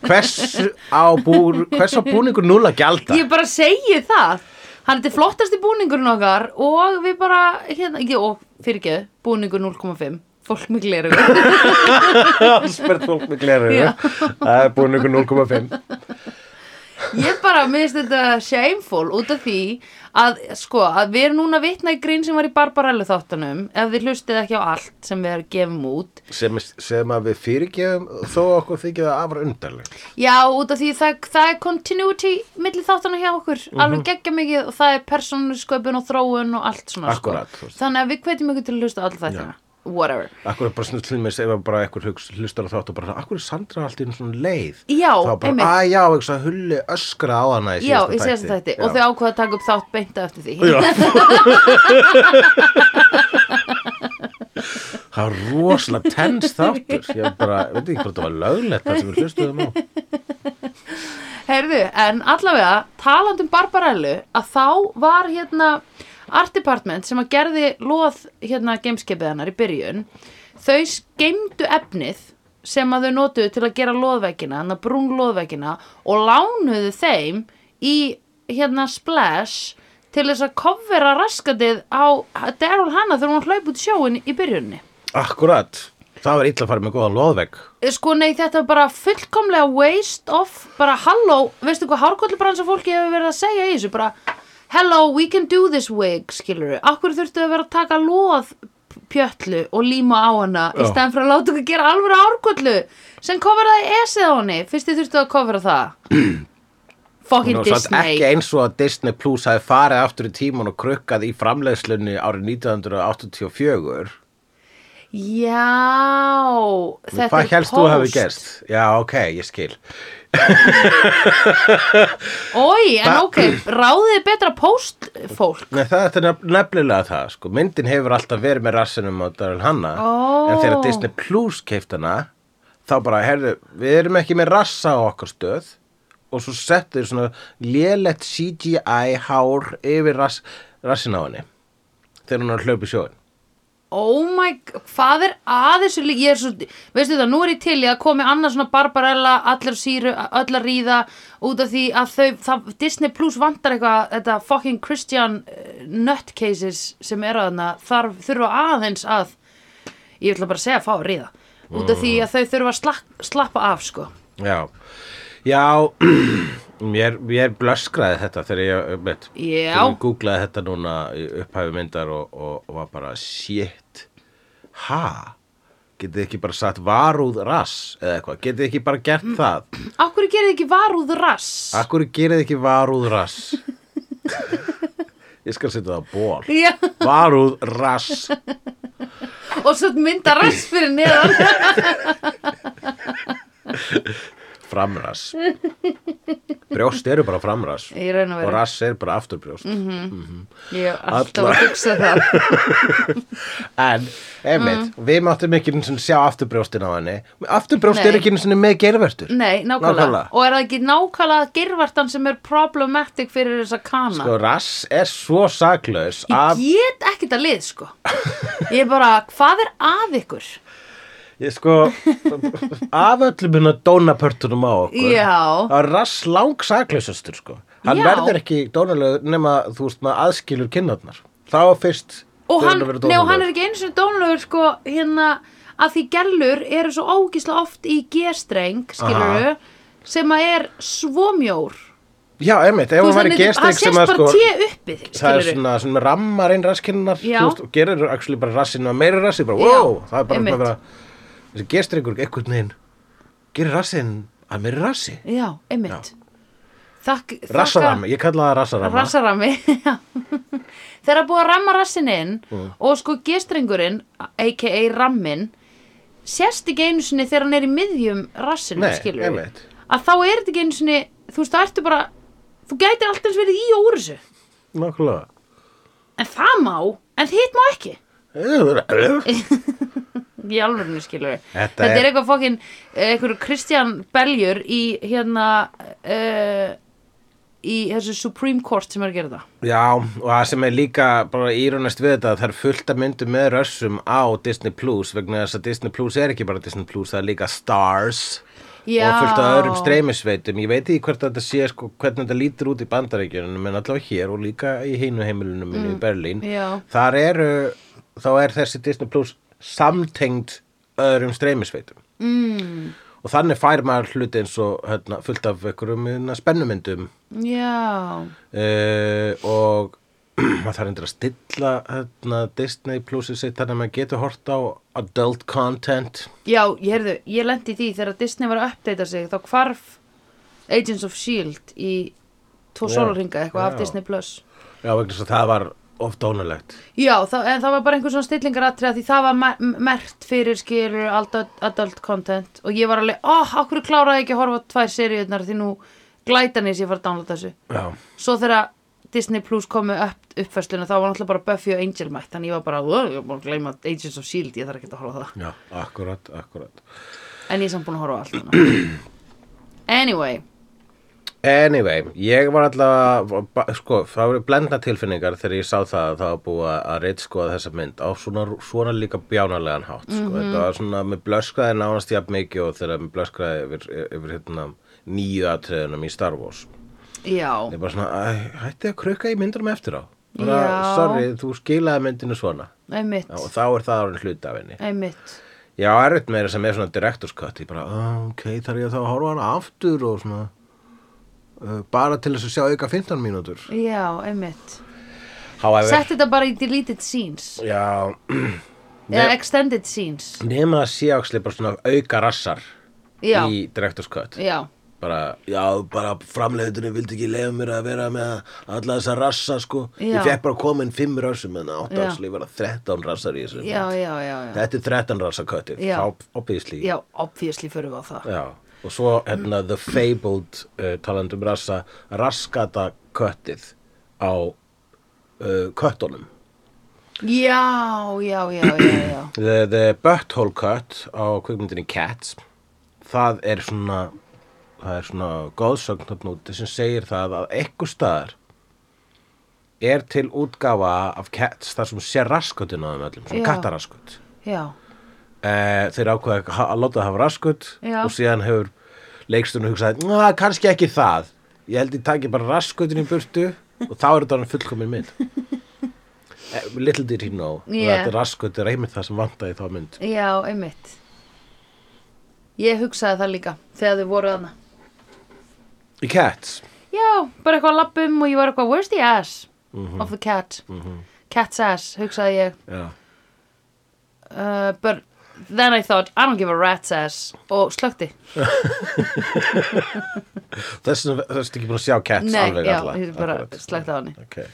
Speaker 3: hvers á, búr, hvers á búningu 0 að gjalda?
Speaker 2: Ég bara segi það. Hann er þetta flottasti búningurinn okkar og við bara, hérna, ekki, og fyrirgeðu, búningur 0,5. Fólk mikið leiru.
Speaker 3: Spert fólk með gleru,
Speaker 2: Já.
Speaker 3: það er búningu 0,5.
Speaker 2: Ég bara minnst þetta shameful út af því að, sko, að við erum núna að vitna í grín sem var í Barbarellu þáttanum ef þið hlustið ekki á allt sem við erum gefum út.
Speaker 3: Sem, sem að við fyrirgefum þó okkur þykja það afar undarlegt.
Speaker 2: Já, út af því það, það er continuity milli þáttana hjá okkur,
Speaker 3: Mhm.
Speaker 2: alveg geggja mikið og það er persónusköpun og þróun og allt svona.
Speaker 3: Akkúrat, þú
Speaker 2: Sko.
Speaker 3: veist.
Speaker 2: Þannig að við hvetjum ykkur til að hlusta á alla þættina. Whatever.
Speaker 3: Akkur er bara svona til mig sem að bara ekkur hlustar á þátt og bara, akkur er Sandra allt í einu svona leið?
Speaker 2: Já,
Speaker 3: Þá bara,
Speaker 2: einmitt.
Speaker 3: að já, ekki svo hulli öskra á hana í
Speaker 2: Já,
Speaker 3: síðasta
Speaker 2: í síðasta þætti og þau ákvaða að taka upp þátt beinta eftir því.
Speaker 3: Já. það var rosalega tens þáttur. Ég bara, veit ekki hvort það var löglegt það sem við hlustuðum á.
Speaker 2: Heyrðu, en allavega, talandi um Barbarellu, að þá var hérna Art Department sem að gerði loð hérna gameskipið hennar í byrjun, þau skeimdu efnið sem að þau notuðu til að gera loðvekkina, þannig að brún loðvekkina og lánuðu þeim í hérna Splash til þess að kofvera raskatið á Daryl Hanna þegar hún hlaup út í sjóin í byrjunni.
Speaker 3: Akkurat. Það var illa að fara með góðan loðvegg.
Speaker 2: Sko nei, þetta er bara fullkomlega waste of, bara halló, veistu hvað hárkollubransa fólki hefur verið að segja í þessu, bara hello, we can do this wig, skilur við, akkur þurftu að vera að taka loð pjötlu og líma á hana í
Speaker 3: Já.
Speaker 2: stæðan fyrir að láta okkur gera alvöru hárkollu sem kofraði esið á henni, fyrst þið þurftu að kofra það.
Speaker 3: *clears throat* Hún
Speaker 2: Fucking
Speaker 3: var samt
Speaker 2: Disney.
Speaker 3: ekki eins og að Disney Plus hafi farið aftur í tíman og krukkað í framleiðslunni árið 1984.
Speaker 2: Já, þetta
Speaker 3: Hvað
Speaker 2: er
Speaker 3: helst þú hafi
Speaker 2: post.
Speaker 3: gerst? Já, ok, ég skil.
Speaker 2: Ói, en
Speaker 3: Ba-
Speaker 2: ok, *clears throat* ráðið betra post fólk.
Speaker 3: Nei, það þetta er nef- nefnilega það, sko. Myndin hefur alltaf verið með rassinum á Daryl Hanna.
Speaker 2: Ó.
Speaker 3: En þegar Disney Plus keift hana, þá bara, herðu, við erum ekki með rassa á okkar stöð. Og svo settu þér svona lélegt CGI hár yfir rass, rassin á henni. Þegar hún er að hlaupa í sjóin.
Speaker 2: Oh my, g- hvað er að þessu líka, ég er svo, veistu það, nú er ég til ég að komi annað svona barbarella, allar síru, allar ríða út af því að þau, það, Disney Plus vantar eitthvað, þetta fucking Christian eh, nutcases sem eru að þarna, þarf, þurfa aðeins að, ég ætla bara að segja að fá að ríða, út af því
Speaker 3: Mm.
Speaker 2: að þau þurfa að slak, slappa af, sko.
Speaker 3: Já. Já, *clears throat* mér, mér blöskraði þetta þegar ég, veit,
Speaker 2: Já.
Speaker 3: þegar ég googlaði þetta núna í upphæfi myndar og, og, og var bara, shit, ha, getið þið ekki bara satt varúð rass eða eitthvað, getið þið ekki bara gert það,
Speaker 2: Akkur gerir þið ekki varúð rass?
Speaker 3: akkur gerið þið ekki varúð rass, *laughs* ég skal setja það á ból,
Speaker 2: *laughs* Já,
Speaker 3: varúð rass,
Speaker 2: og svo mynda rass fyrir neðan.
Speaker 3: *laughs* framrass, brjóst eru bara framrass
Speaker 2: Í raun og
Speaker 3: og
Speaker 2: veru.
Speaker 3: rass er bara afturbrjóst.
Speaker 2: Ég hef alltaf
Speaker 3: Alla-
Speaker 2: að hugsa það.
Speaker 3: En, einmitt, við máttum ekki einu sinni sjá afturbrjóstin á henni. Afturbrjóst
Speaker 2: Nei.
Speaker 3: er ekki einu sinni með gervertur.
Speaker 2: Nei, nákvæmlega.
Speaker 3: Nákvæmlega.
Speaker 2: Og er það ekki nákvæmlega girvartan sem er problematic fyrir þessa kana?
Speaker 3: Sko, rass er svo saklaus
Speaker 2: ég
Speaker 3: að,
Speaker 2: get ekkert að lið, sko. Ég er bara, hvað er að ykkur?
Speaker 3: ég sko, af öllum hérna dónapörtunum á okkur.
Speaker 2: Já.
Speaker 3: Að rass lang saklausustur, sko. Hann
Speaker 2: Já.
Speaker 3: verður ekki dónalegur nema, þú veist, maður aðskilur kinnarnar. Þá fyrst
Speaker 2: Og
Speaker 3: fer
Speaker 2: hann,
Speaker 3: að vera
Speaker 2: nei, og hann er
Speaker 3: dónalegur.
Speaker 2: ekki eins og dónulegur, sko, hérna, að því gellur eru svo ógísla oft í G-streng, skilur sem að er svo mjór.
Speaker 3: Já, einmitt, ef hann
Speaker 2: Þú veist,
Speaker 3: væri
Speaker 2: hann er-
Speaker 3: gesting sem að,
Speaker 2: Hann sést
Speaker 3: sko...
Speaker 2: bara té uppið,
Speaker 3: það
Speaker 2: skilur
Speaker 3: er svona, svona rammar inn raskinnar
Speaker 2: Já.
Speaker 3: og gerir actually bara rassinu að meira rassi bara,
Speaker 2: Já,
Speaker 3: wow, það er bara
Speaker 2: einmitt.
Speaker 3: svona vera þessi gestringur einhvern veginn gerir rassin að meira rassi
Speaker 2: Já, einmitt. Þakk, þakka-
Speaker 3: rassarami, ég kalla það rassarama
Speaker 2: Rassarami *laughs* já. Þegar að búa að ramma rassin inn og sko gestrengurinn a.k.a. rammin sérst ekki einu sinni þegar hann er í miðjum rassinu
Speaker 3: Nei,
Speaker 2: skilur
Speaker 3: einmitt.
Speaker 2: að þá er þetta ekki einu sinni þú veist það ertu bara þú gætir allt eins verið í og úr þessu
Speaker 3: Nákvæmlega
Speaker 2: en það má, en hitt má ekki í alvörinu skilur
Speaker 3: Þetta
Speaker 2: þetta, þetta
Speaker 3: er-
Speaker 2: er eitthvað fokkin eh, eitthvað Kristján Beljur í hérna uh, í þessu Supreme Court sem er að gera það
Speaker 3: Já, og það sem er líka bara írunast við þetta, það er fullt af myndum með rössum á Disney Plus vegna þess að Disney Plus er ekki bara Disney Plus það er líka Stars
Speaker 2: Já.
Speaker 3: og fullt af öðrum streymisveitum ég veit ekki hvort þetta sé, sko, hvernig þetta lítur út í bandaríkjörnum en allavega hér og líka í heinu heimilinu mínu í Berlín
Speaker 2: Mm. já.
Speaker 3: þar eru, þá er þessi Disney Plus samtengd öðrum streymisveitum
Speaker 2: mm,
Speaker 3: og þannig fær maður hluti eins og hérna, fullt af einhverjum hérna, spennumyndum
Speaker 2: já
Speaker 3: uh, og *clears throat* maður þarf endur að stilla hérna, Disney plusið sitt þannig að maður getur hort á adult content
Speaker 2: já, ég heyrðu, ég lendi í því þegar Disney var að uppdata sig þá hvarf Agents of S.H.I.E.L.D. E í tvo
Speaker 3: Já.
Speaker 2: sólarringa eitthvað af
Speaker 3: Já.
Speaker 2: Disney Plus
Speaker 3: já vegna þess að það var of dónulegt
Speaker 2: Já, það, en það var bara einhver svona stillingaratriða því það var mer- merkt fyrir skilur adult, adult content og ég var alveg, oh, okkur kláraði ég ekki að horfa á tvær seriðnar því nú glætanis ég fara að downloada þessu.
Speaker 3: já,
Speaker 2: Svo þegar Disney Plus komu upp uppfæsluna þá var náttúrulega bara Buffy og Angel mætt þannig ég var bara, "Ugh, ég var búin að gleyma Agents of S.H.I.E.L.D. E ég þarf ekki að horfa á það.
Speaker 3: já, akkurat, akkurat
Speaker 2: En ég er samt búin að horfa á allt þannig.
Speaker 3: *clears throat*
Speaker 2: Anyway,
Speaker 3: Anyway, ég var allavega, sko, það voru blendna tilfinningar þegar ég sá það að það var búið að reitskoða þessa mynd á svona, svona líka bjánarlegan hátt, sko, þetta var svona, mér blöskraði nánast jafn mikið og þegar mér blöskraði yfir, yfir hérna nýju atriðunum í Star Wars.
Speaker 2: já,
Speaker 3: Ég bara svona, æ, hætti að krukka í myndunum eftir á, bara,
Speaker 2: Já.
Speaker 3: sorry, þú skilaði myndinu svona,
Speaker 2: einmitt,
Speaker 3: Já, og þá er það orðin hluti af henni.
Speaker 2: einmitt.
Speaker 3: Já, erfitt meira sem er svona director's cut ég bara, "Ah, ok, þarf ég þá að horfa hana aftur og svona uh, bara til þess að sjá auka 15 mínútur
Speaker 2: Já, einmitt.
Speaker 3: However,
Speaker 2: Sett þetta bara í deleted scenes
Speaker 3: Já,
Speaker 2: eða extended scenes.
Speaker 3: nema að sé áksli bara svona auka rassar
Speaker 2: Já,
Speaker 3: í director's cut
Speaker 2: já.
Speaker 3: bara, já, bara framleiðutunni vildi ekki leiða mér að vera með alla þessa rassa sko,
Speaker 2: Já.
Speaker 1: Ég fekk bara komin fimm rassum en átt
Speaker 2: Já.
Speaker 1: ásli var að 13 rassar í þessu
Speaker 2: já, já, já, já.
Speaker 3: þetta er 13 rassa cutið,
Speaker 2: Já.
Speaker 3: þá obviously
Speaker 2: já, obviously förum við á það
Speaker 3: Já, og svo hérna The Fabled uh, talandum rassa raskata köttið á uh, köttunum
Speaker 2: já, já, já, já, já.
Speaker 3: the, the Butthole Cut á kvikmyndinni Cats það er svona það er svona góðsögn þarna úti sem segir það að ekkur staðar er til útgáfa af Cats þar sem sér raskutin á þeim öllum,
Speaker 2: Já.
Speaker 3: svona kattaraskut
Speaker 2: já,
Speaker 3: eh, þeir ákveða að ha- að láta það hafa raskut
Speaker 2: Já.
Speaker 3: og síðan hefur leikstunum hugsað "Ná, kannski ekki það ég held ég taki bara raskutin í burtu og þá er þetta hann fullkomin
Speaker 2: *laughs*
Speaker 3: mynd Eh, little did he know
Speaker 2: Yeah.
Speaker 3: þetta raskut er einmitt það sem vantaði í þá mynd
Speaker 2: já, einmitt ég hugsaði það líka þegar þau voru þarna
Speaker 3: í Cats
Speaker 2: já, bara eitthvað lappum og ég var eitthvað where's the ass
Speaker 3: Mhm.
Speaker 2: of the cat cat's ass, hugsaði ég
Speaker 3: Já.
Speaker 2: uh, but then I thought, I don't give a rat's ass og slökti
Speaker 3: þess vegna þess ekki búin að sjá Cats
Speaker 2: Nei,
Speaker 3: alveg
Speaker 2: já,
Speaker 3: alla
Speaker 2: ég bara
Speaker 3: Akkurat.
Speaker 2: slökkti á henni.
Speaker 3: okay.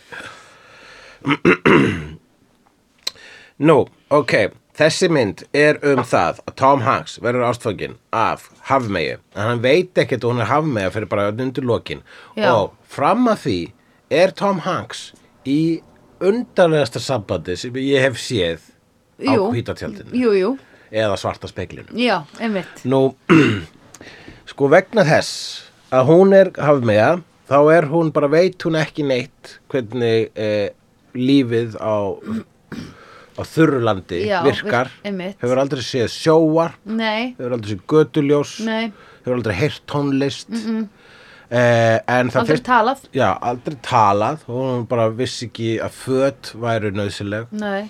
Speaker 3: *clears throat* Nú, ok Þessi mynd er um það að Tom Hanks verður ástfanginn af hafmeyju en hann veit ekkert að hún er hafmeyja fyrir bara undir lokin
Speaker 2: Já.
Speaker 3: og fram að því er Tom Hanks í undarlegasta sambandi sem ég hef séð á
Speaker 2: Jú.
Speaker 3: hvítatjaldinu
Speaker 2: jú, jú,
Speaker 3: eða svarta speklinu
Speaker 2: já, einmitt
Speaker 3: Nú, *clears throat* sko vegna þess að hún er hafmeja, þá er hún bara veit hún ekki neitt hvernig eh, lífið á, á þurrulandi
Speaker 2: Já,
Speaker 3: virkar.
Speaker 2: virk- einmitt.
Speaker 3: hefur aldrei séð sjóar,
Speaker 2: nei,
Speaker 3: hefur aldrei séð götuljós,
Speaker 2: nei,
Speaker 3: hefur aldrei heyrt tónlist. eh, en það
Speaker 2: aldrei
Speaker 3: fyrst-
Speaker 2: talað
Speaker 3: Já, aldrei talað, hún bara vissi ekki að föt væru nöðsileg.
Speaker 2: nei,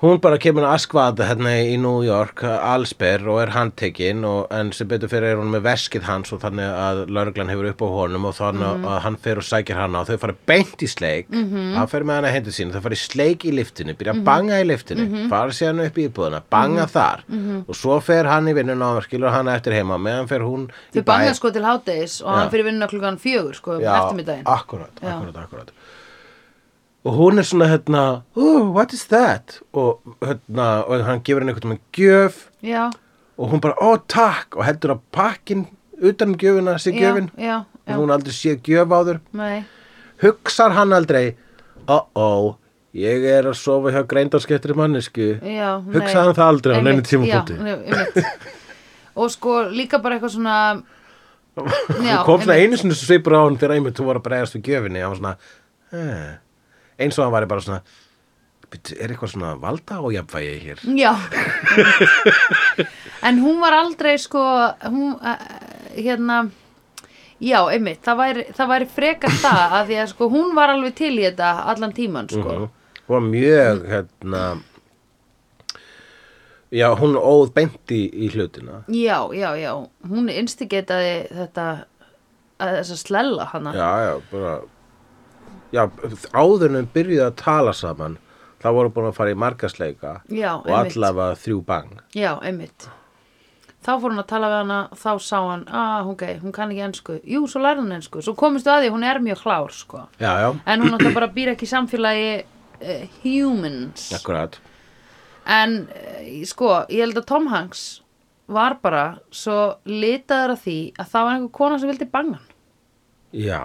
Speaker 3: Hún bara kemur að askvaða hérna í New York allsber og er handtekinn og en sem betur fyrir er hún með veskið hans og þannig að lauruglan hefur upp á honum og þannig
Speaker 2: Mhm.
Speaker 3: að hann fer og sækir hana og þau fara beint í sleik hann fer með hana að hendur sín þau fara í sleik í liftinu, byrja að
Speaker 2: Mhm.
Speaker 3: banga í liftinu fara síðan upp í íbúðuna, banga þar
Speaker 2: Mhm.
Speaker 3: og svo fer hann í vinnuna og skilur hana eftir heima meðan fer hún
Speaker 2: þau
Speaker 3: í
Speaker 2: banga sko til hátæðis og
Speaker 3: Já.
Speaker 2: hann fyrir vinnuna klukkan fjögur sko, um eftirmiddaginn
Speaker 3: akkurat,
Speaker 2: Já.
Speaker 3: akkurat, akkurat og hún er svona hérna oh, what is that og, hérna, og hann gefur henni einhvern veginn gjöf
Speaker 2: já,
Speaker 3: og hún bara, ó oh, takk og heldur á pakkin utan um gjöfuna sér
Speaker 2: já,
Speaker 3: gjöfin
Speaker 2: já, Já.
Speaker 3: hún aldrei séð gjöf áður
Speaker 2: Nei,
Speaker 3: hugsar hann aldrei uh-oh, ég er að sofa hjá greindarskeptri mannesku
Speaker 2: já, nei
Speaker 3: hugsaði hann það aldrei á neinu
Speaker 2: Einmitt,
Speaker 3: tímapunkti
Speaker 2: já, nei, einmitt. Og sko líka bara eitthvað svona já,
Speaker 3: hún kom svona
Speaker 2: einmitt.
Speaker 3: einu sinni svipur á hann þegar einmitt þú voru að bregðast við gjöfinni hann var svona, eh. eins og hann væri bara svona "Bíddu, er eitthvað svona valda og jafnvægi hér
Speaker 2: Já En hún var aldrei sko hún, uh, hérna Já, einmitt, það væri, það væri frekar það að því að sko hún var alveg til í þetta allan tíman sko
Speaker 3: Mhm. hún var mjög hérna já, hún óð beint í, í hlutina
Speaker 2: Já, já, já, hún instigetaði þetta að þess að slella hana
Speaker 3: já, já, bara já, áður en þau byrjuðu að tala saman þá voru búin að fara í markasleika
Speaker 2: Já,
Speaker 3: og
Speaker 2: einmitt.
Speaker 3: allavega þrjú bang
Speaker 2: Já, einmitt Þá fór hún að tala við hana, þá sá hann ah, ok, hún kann ekki ensku, jú, svo lærði hún ensku svo komist að því, að hún er mjög hlár sko
Speaker 3: já, já,
Speaker 2: en hún náttúrulega bara býr ekki í samfélagi uh, humans
Speaker 3: akkurat
Speaker 2: en uh, sko, ég held að Tom Hanks var bara svo litaður að því að það var einhver kona sem vildi banga hann.
Speaker 3: já,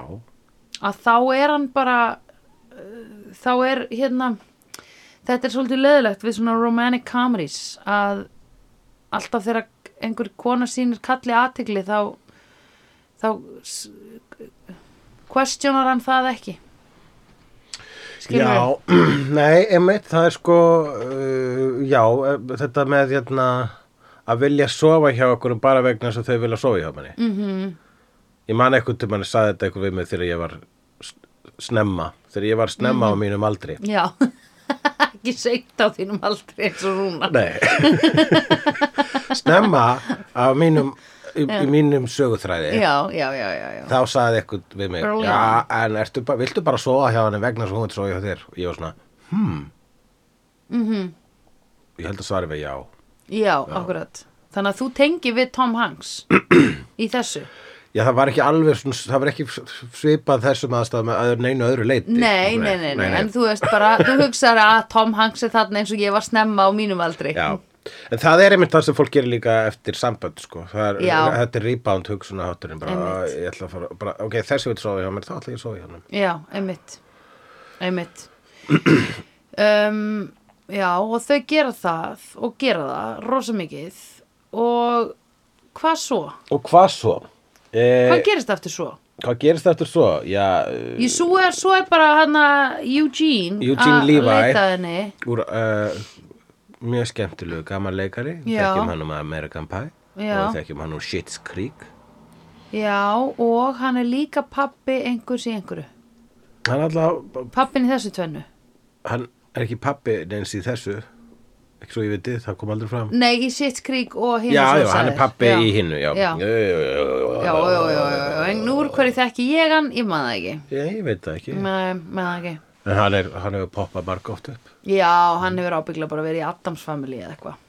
Speaker 2: að þá er hann bara uh, þá er hérna þetta er svolítið leðilegt við svona romantic comedies að alltaf þegar einhver kona sínir kalli aðtegli þá þá s- questionar hann það ekki skilur við
Speaker 3: já, *clears throat* nei, einmitt, það er sko, uh, já, eh, þetta með hérna að vilja sofa hjá okkur bara vegna þess að þau vilja sofa hjá manni. -hmm. Ég man eitthvað til manni saði þetta eitthvað við mig þegar ég var s- snemma, þegar ég var snemma á mínum aldri.
Speaker 2: Já, *laughs* ekki seint á þínum aldrei eins og rúna.
Speaker 3: Nei, *laughs* snemma á mínum, í, í mínum söguþræði.
Speaker 2: Já, já, já, já, já.
Speaker 3: Þá saði eitthvað við mig,
Speaker 2: Early
Speaker 3: já, en ertu, ba- viltu bara sofa hjá henni vegna þess að hún vil sofa hjá þér? Og ég var svona, hmm, -hmm. ég held að svarið við já.
Speaker 2: Mhm. Já, akkurat. Þannig að þú tengi við Tom Hanks *clears throat* í þessu.
Speaker 3: Já, það var ekki alveg svona, það var ekki svipað þessum aðstæðum að neinu öðru leiti.
Speaker 2: Nei nei nei, nei, en þú veist bara, þú hugsaði að Tom Hanks er þarna eins og ég var snemma á mínum aldrei.
Speaker 3: Já, en það er einmitt það sem fólk gerir líka eftir sambönd, sko. Það Er,
Speaker 2: Já.
Speaker 3: þetta er rebound hugsunahátturinn, bara,
Speaker 2: Einmitt.
Speaker 3: "Á, ég ætla að fara, bara, ok, þessi vil sofa hjá mér, þá ætla ég að sofa hjá mér.
Speaker 2: Já, einmitt. Einmitt. *clears throat* um, já, og þau gera það og gera það rosa mikið og hvað svo?
Speaker 3: Og hvað svo? Eh,
Speaker 2: Hvað gerist eftir svo?
Speaker 3: hvað gerist eftir svo? Já, eh,
Speaker 2: Ég, svo, er, svo er bara hana Eugene,
Speaker 3: Eugene
Speaker 2: að
Speaker 3: Levi.
Speaker 2: leita að henni
Speaker 3: úr uh, mjög skemmtilegu gaman leikari, Við
Speaker 2: Já.
Speaker 3: þekkjum hann um American Pie
Speaker 2: Já.
Speaker 3: og við þekkjum hann um Shit's Creek.
Speaker 2: Já, og hann er líka pappi einhvers í einhverju
Speaker 3: Hann alltaf,
Speaker 2: Pappin í þessu tvennu
Speaker 3: hann er ekki pappi neins í þessu, ekki svo ég viti, það kom aldrei fram.
Speaker 2: Nei, í sitt krík og hinn
Speaker 3: já, já, hann er pappi í hinnu já.
Speaker 2: Já.
Speaker 3: Jú, jú, jú, jú, jú.
Speaker 2: Já, já, já, já, já, en nú úr hverju þekki ég hann, ég maður það ekki
Speaker 3: Ég, ég veit það ekki
Speaker 2: Nei, maður það ekki
Speaker 3: en hann, er, hann hefur poppað marg oft upp
Speaker 2: Já, hann hefur ábyggla bara verið í Adams Family eða eitthvað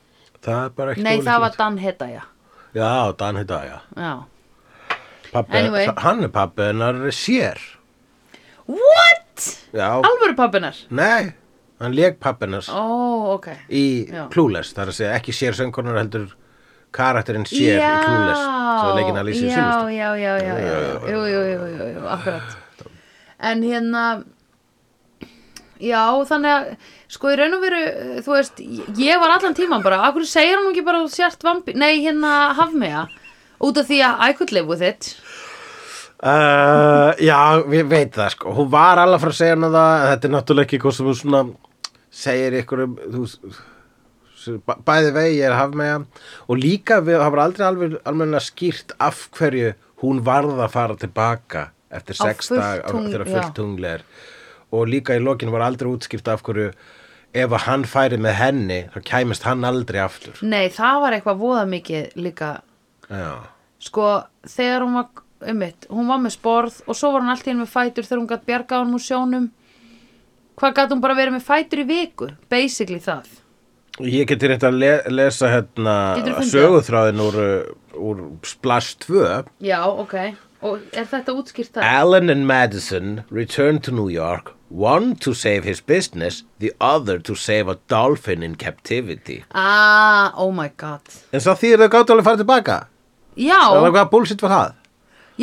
Speaker 3: það er bara ekki
Speaker 2: Nei, það var
Speaker 3: ólíklegt.
Speaker 2: Dan Hedda, já
Speaker 3: já, Dan heita, já
Speaker 2: Já
Speaker 3: pappi,
Speaker 2: Anyway.
Speaker 3: hann er pappi hennar sér
Speaker 2: What?
Speaker 3: já,
Speaker 2: Alvöru pappinar?
Speaker 3: nei, hann leik pappi hennar
Speaker 2: Ó, ok
Speaker 3: í
Speaker 2: Já.
Speaker 3: Clueless það er að segja ekki sér söngkonar heldur karakterinn sér í Clueless svo leikinn að lýsa í
Speaker 2: já, já, já, já, já, já, jú, jú, jú, jú, jú, akkurat en hérna já, þannig að sko í raun og veru, eh, þú veist ég var allan tíman bara, akkur segir hún ekki bara að þú sért vampi, nei hérna hafmega út af því að I could live with it
Speaker 3: Uh, já, við veit það sko Hún var alveg frá að segja hana það en Þetta er náttúrulega ekki eitthvað sem hún svona segir ykkur um þú, s- bæ- bæði vegi er haf með og líka við, það var aldrei alveg alveg skýrt af hverju hún varð að fara tilbaka eftir
Speaker 2: Á
Speaker 3: sex
Speaker 2: fullt
Speaker 3: dag á-
Speaker 2: tungl,
Speaker 3: þegar
Speaker 2: já.
Speaker 3: fullt tungli er og líka í lokinu var aldrei útskýrt af hverju ef að hann færi með henni þá kæmist hann aldrei aftur
Speaker 2: nei, það var eitthvað voða mikið líka
Speaker 3: Já,
Speaker 2: sko, þegar hún var einmitt, hún var með sporð og svo var hún alltaf inn með fætur þegar hún gætt bjargað hún úr sjónum hvað gætt hún bara verið með fætur í viku basically það
Speaker 3: Ég geti reynt að le lesa hérna
Speaker 2: Geturðu fundið
Speaker 3: söguþráðin úr, uh, úr Splash 2
Speaker 2: Já, ok. Og er þetta útskýrt það?
Speaker 1: Eh.
Speaker 3: Alan and Madison returned to New York one to save his business the other to save a dolphin in captivity
Speaker 2: Ah, oh my god.
Speaker 3: En svo því er þau gátt alveg að fara tilbaka
Speaker 2: Já,
Speaker 3: Það var hvað bullshit var það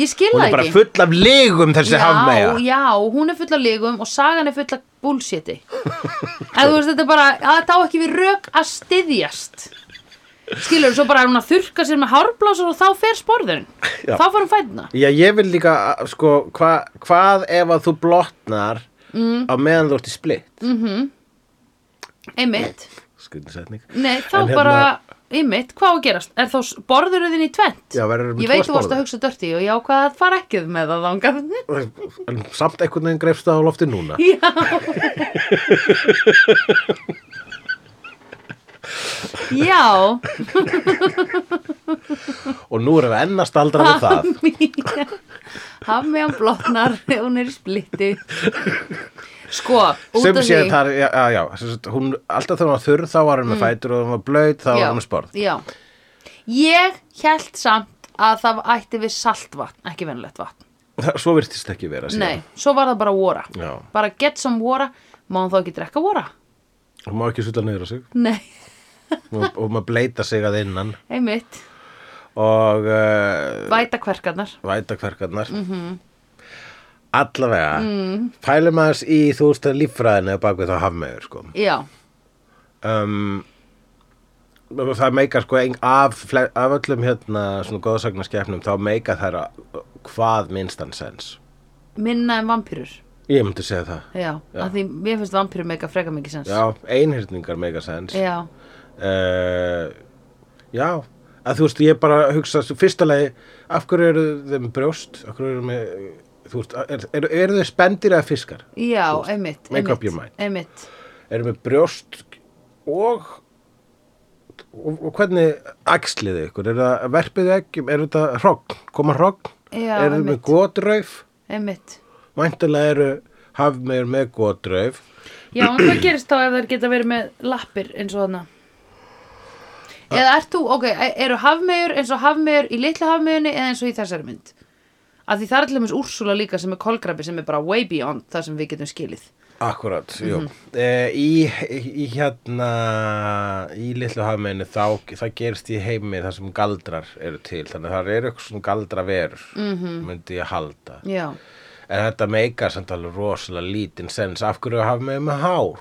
Speaker 2: Ég skil
Speaker 1: Hún
Speaker 2: það
Speaker 1: er bara
Speaker 2: ekki
Speaker 1: full af legum þessi hafmeyja.
Speaker 2: já, já, hún er full af lígum og sagan er full af
Speaker 1: *laughs*
Speaker 2: bullshiti eða þú veist þetta er bara að þá ekki við rök að styðjast skilur svo bara er hún að þurka sér með hárblásur og þá fer sporðurinn
Speaker 3: Já.
Speaker 2: þá fór hún fætna
Speaker 3: Já, ég vil líka, að, sko, hva, hvað ef að þú blotnar
Speaker 2: Mm.
Speaker 3: á meðan þú ert í splitt? Mm.
Speaker 2: einmitt,
Speaker 3: Skundisetning.
Speaker 2: nei þá
Speaker 3: En hérna-
Speaker 2: bara einmitt, hvað á að gerast, er þá borður þinn í tvent
Speaker 3: Já, verður
Speaker 2: ég veit þú varst að hugsa dörti og já hvað fara ekki með það þangað
Speaker 3: *laughs* hugsa. En samt einhvern veginn greifst það á lofti núna.
Speaker 2: já,
Speaker 3: Og nú erum við ennast aldra við það.
Speaker 2: haf mig hann blotnar *laughs* ef hún er í splitti sko, *laughs* út
Speaker 3: Sem
Speaker 2: af
Speaker 3: sé
Speaker 2: því Mm.
Speaker 3: þar, já, já, já sem sagt, hún, alltaf þegar hún var þurr þá var hún með fætur og þegar hún var blöyt þá var
Speaker 2: Já,
Speaker 3: hún með sporð.
Speaker 2: já. ég held samt að það ætti við saltvatn ekki venulegt vatn,
Speaker 3: Það- Svo virtist ekki vera síðan.
Speaker 2: nei, svo var það bara vora,
Speaker 3: Já.
Speaker 2: bara get some vora má hann þá ekki drekka vora
Speaker 3: Hún má ekki sulla niður á sig
Speaker 2: nei,
Speaker 3: og, og maður bleita sig að innan
Speaker 2: einmitt,
Speaker 3: og uh,
Speaker 2: væta kverkarnar
Speaker 3: væta hverkarnar.
Speaker 2: Mhm.
Speaker 3: Allavega,
Speaker 2: Mm.
Speaker 3: pælum aðeins í þú veist að líffræðinu bak við þá hafmeður sko.
Speaker 2: já,
Speaker 3: um, það meikar sko ein, af, fle- af öllum hérna svona góðsagnaskefnum þá meika þær að- hvað minnstan sens.
Speaker 2: minna en vampýrur
Speaker 3: Ég myndi segja það.
Speaker 2: já, já, að því mér finnst vampýrur meika freka mikið sens
Speaker 3: Já, einhyrningar meika sens.
Speaker 2: já,
Speaker 3: uh, já að þú veist, ég bara hugsa svo fyrsta lagi, af hverju eru þeim brjóst af hverju eru með þú veist, er, er, eru þau spendir eða fiskar
Speaker 2: já einmitt,
Speaker 3: make up
Speaker 2: einmitt,
Speaker 3: your mind.
Speaker 2: einmitt
Speaker 3: eru með brjóst og og, og hvernig æxlið þau ykkur, er það verpið ekki er þetta hrogn, koma hrogn
Speaker 2: Já,
Speaker 3: eru þau með
Speaker 2: einmitt.
Speaker 3: gotrauf
Speaker 2: einmitt
Speaker 3: væntalega eru hafmeir með gotrauf
Speaker 2: Já, en hvað gerist þá ef þær geta verið með lappir eins og þarna? Ah. Eða ert þú, ok, e- eru hafmegur eins og hafmegur í litlu hafmegunni eða eins og í þessari mynd? Af því það er allir mjög Úrsula líka sem er kolkrabi sem er bara way beyond það sem við getum skilið.
Speaker 3: Akkurat, jú.
Speaker 2: Mhm.
Speaker 3: Eh, í, í hérna, í litlu hafmeinu þá, það gerist í heimi þar sem galdrar eru til, þannig að það eru eitthvað svona galdraverur,
Speaker 2: Mhm.
Speaker 3: -hmm. myndi ég halda.
Speaker 2: Já,
Speaker 3: En þetta meikar samt alveg rosalega lítinn sens, af hverju er hafmeinu með hár?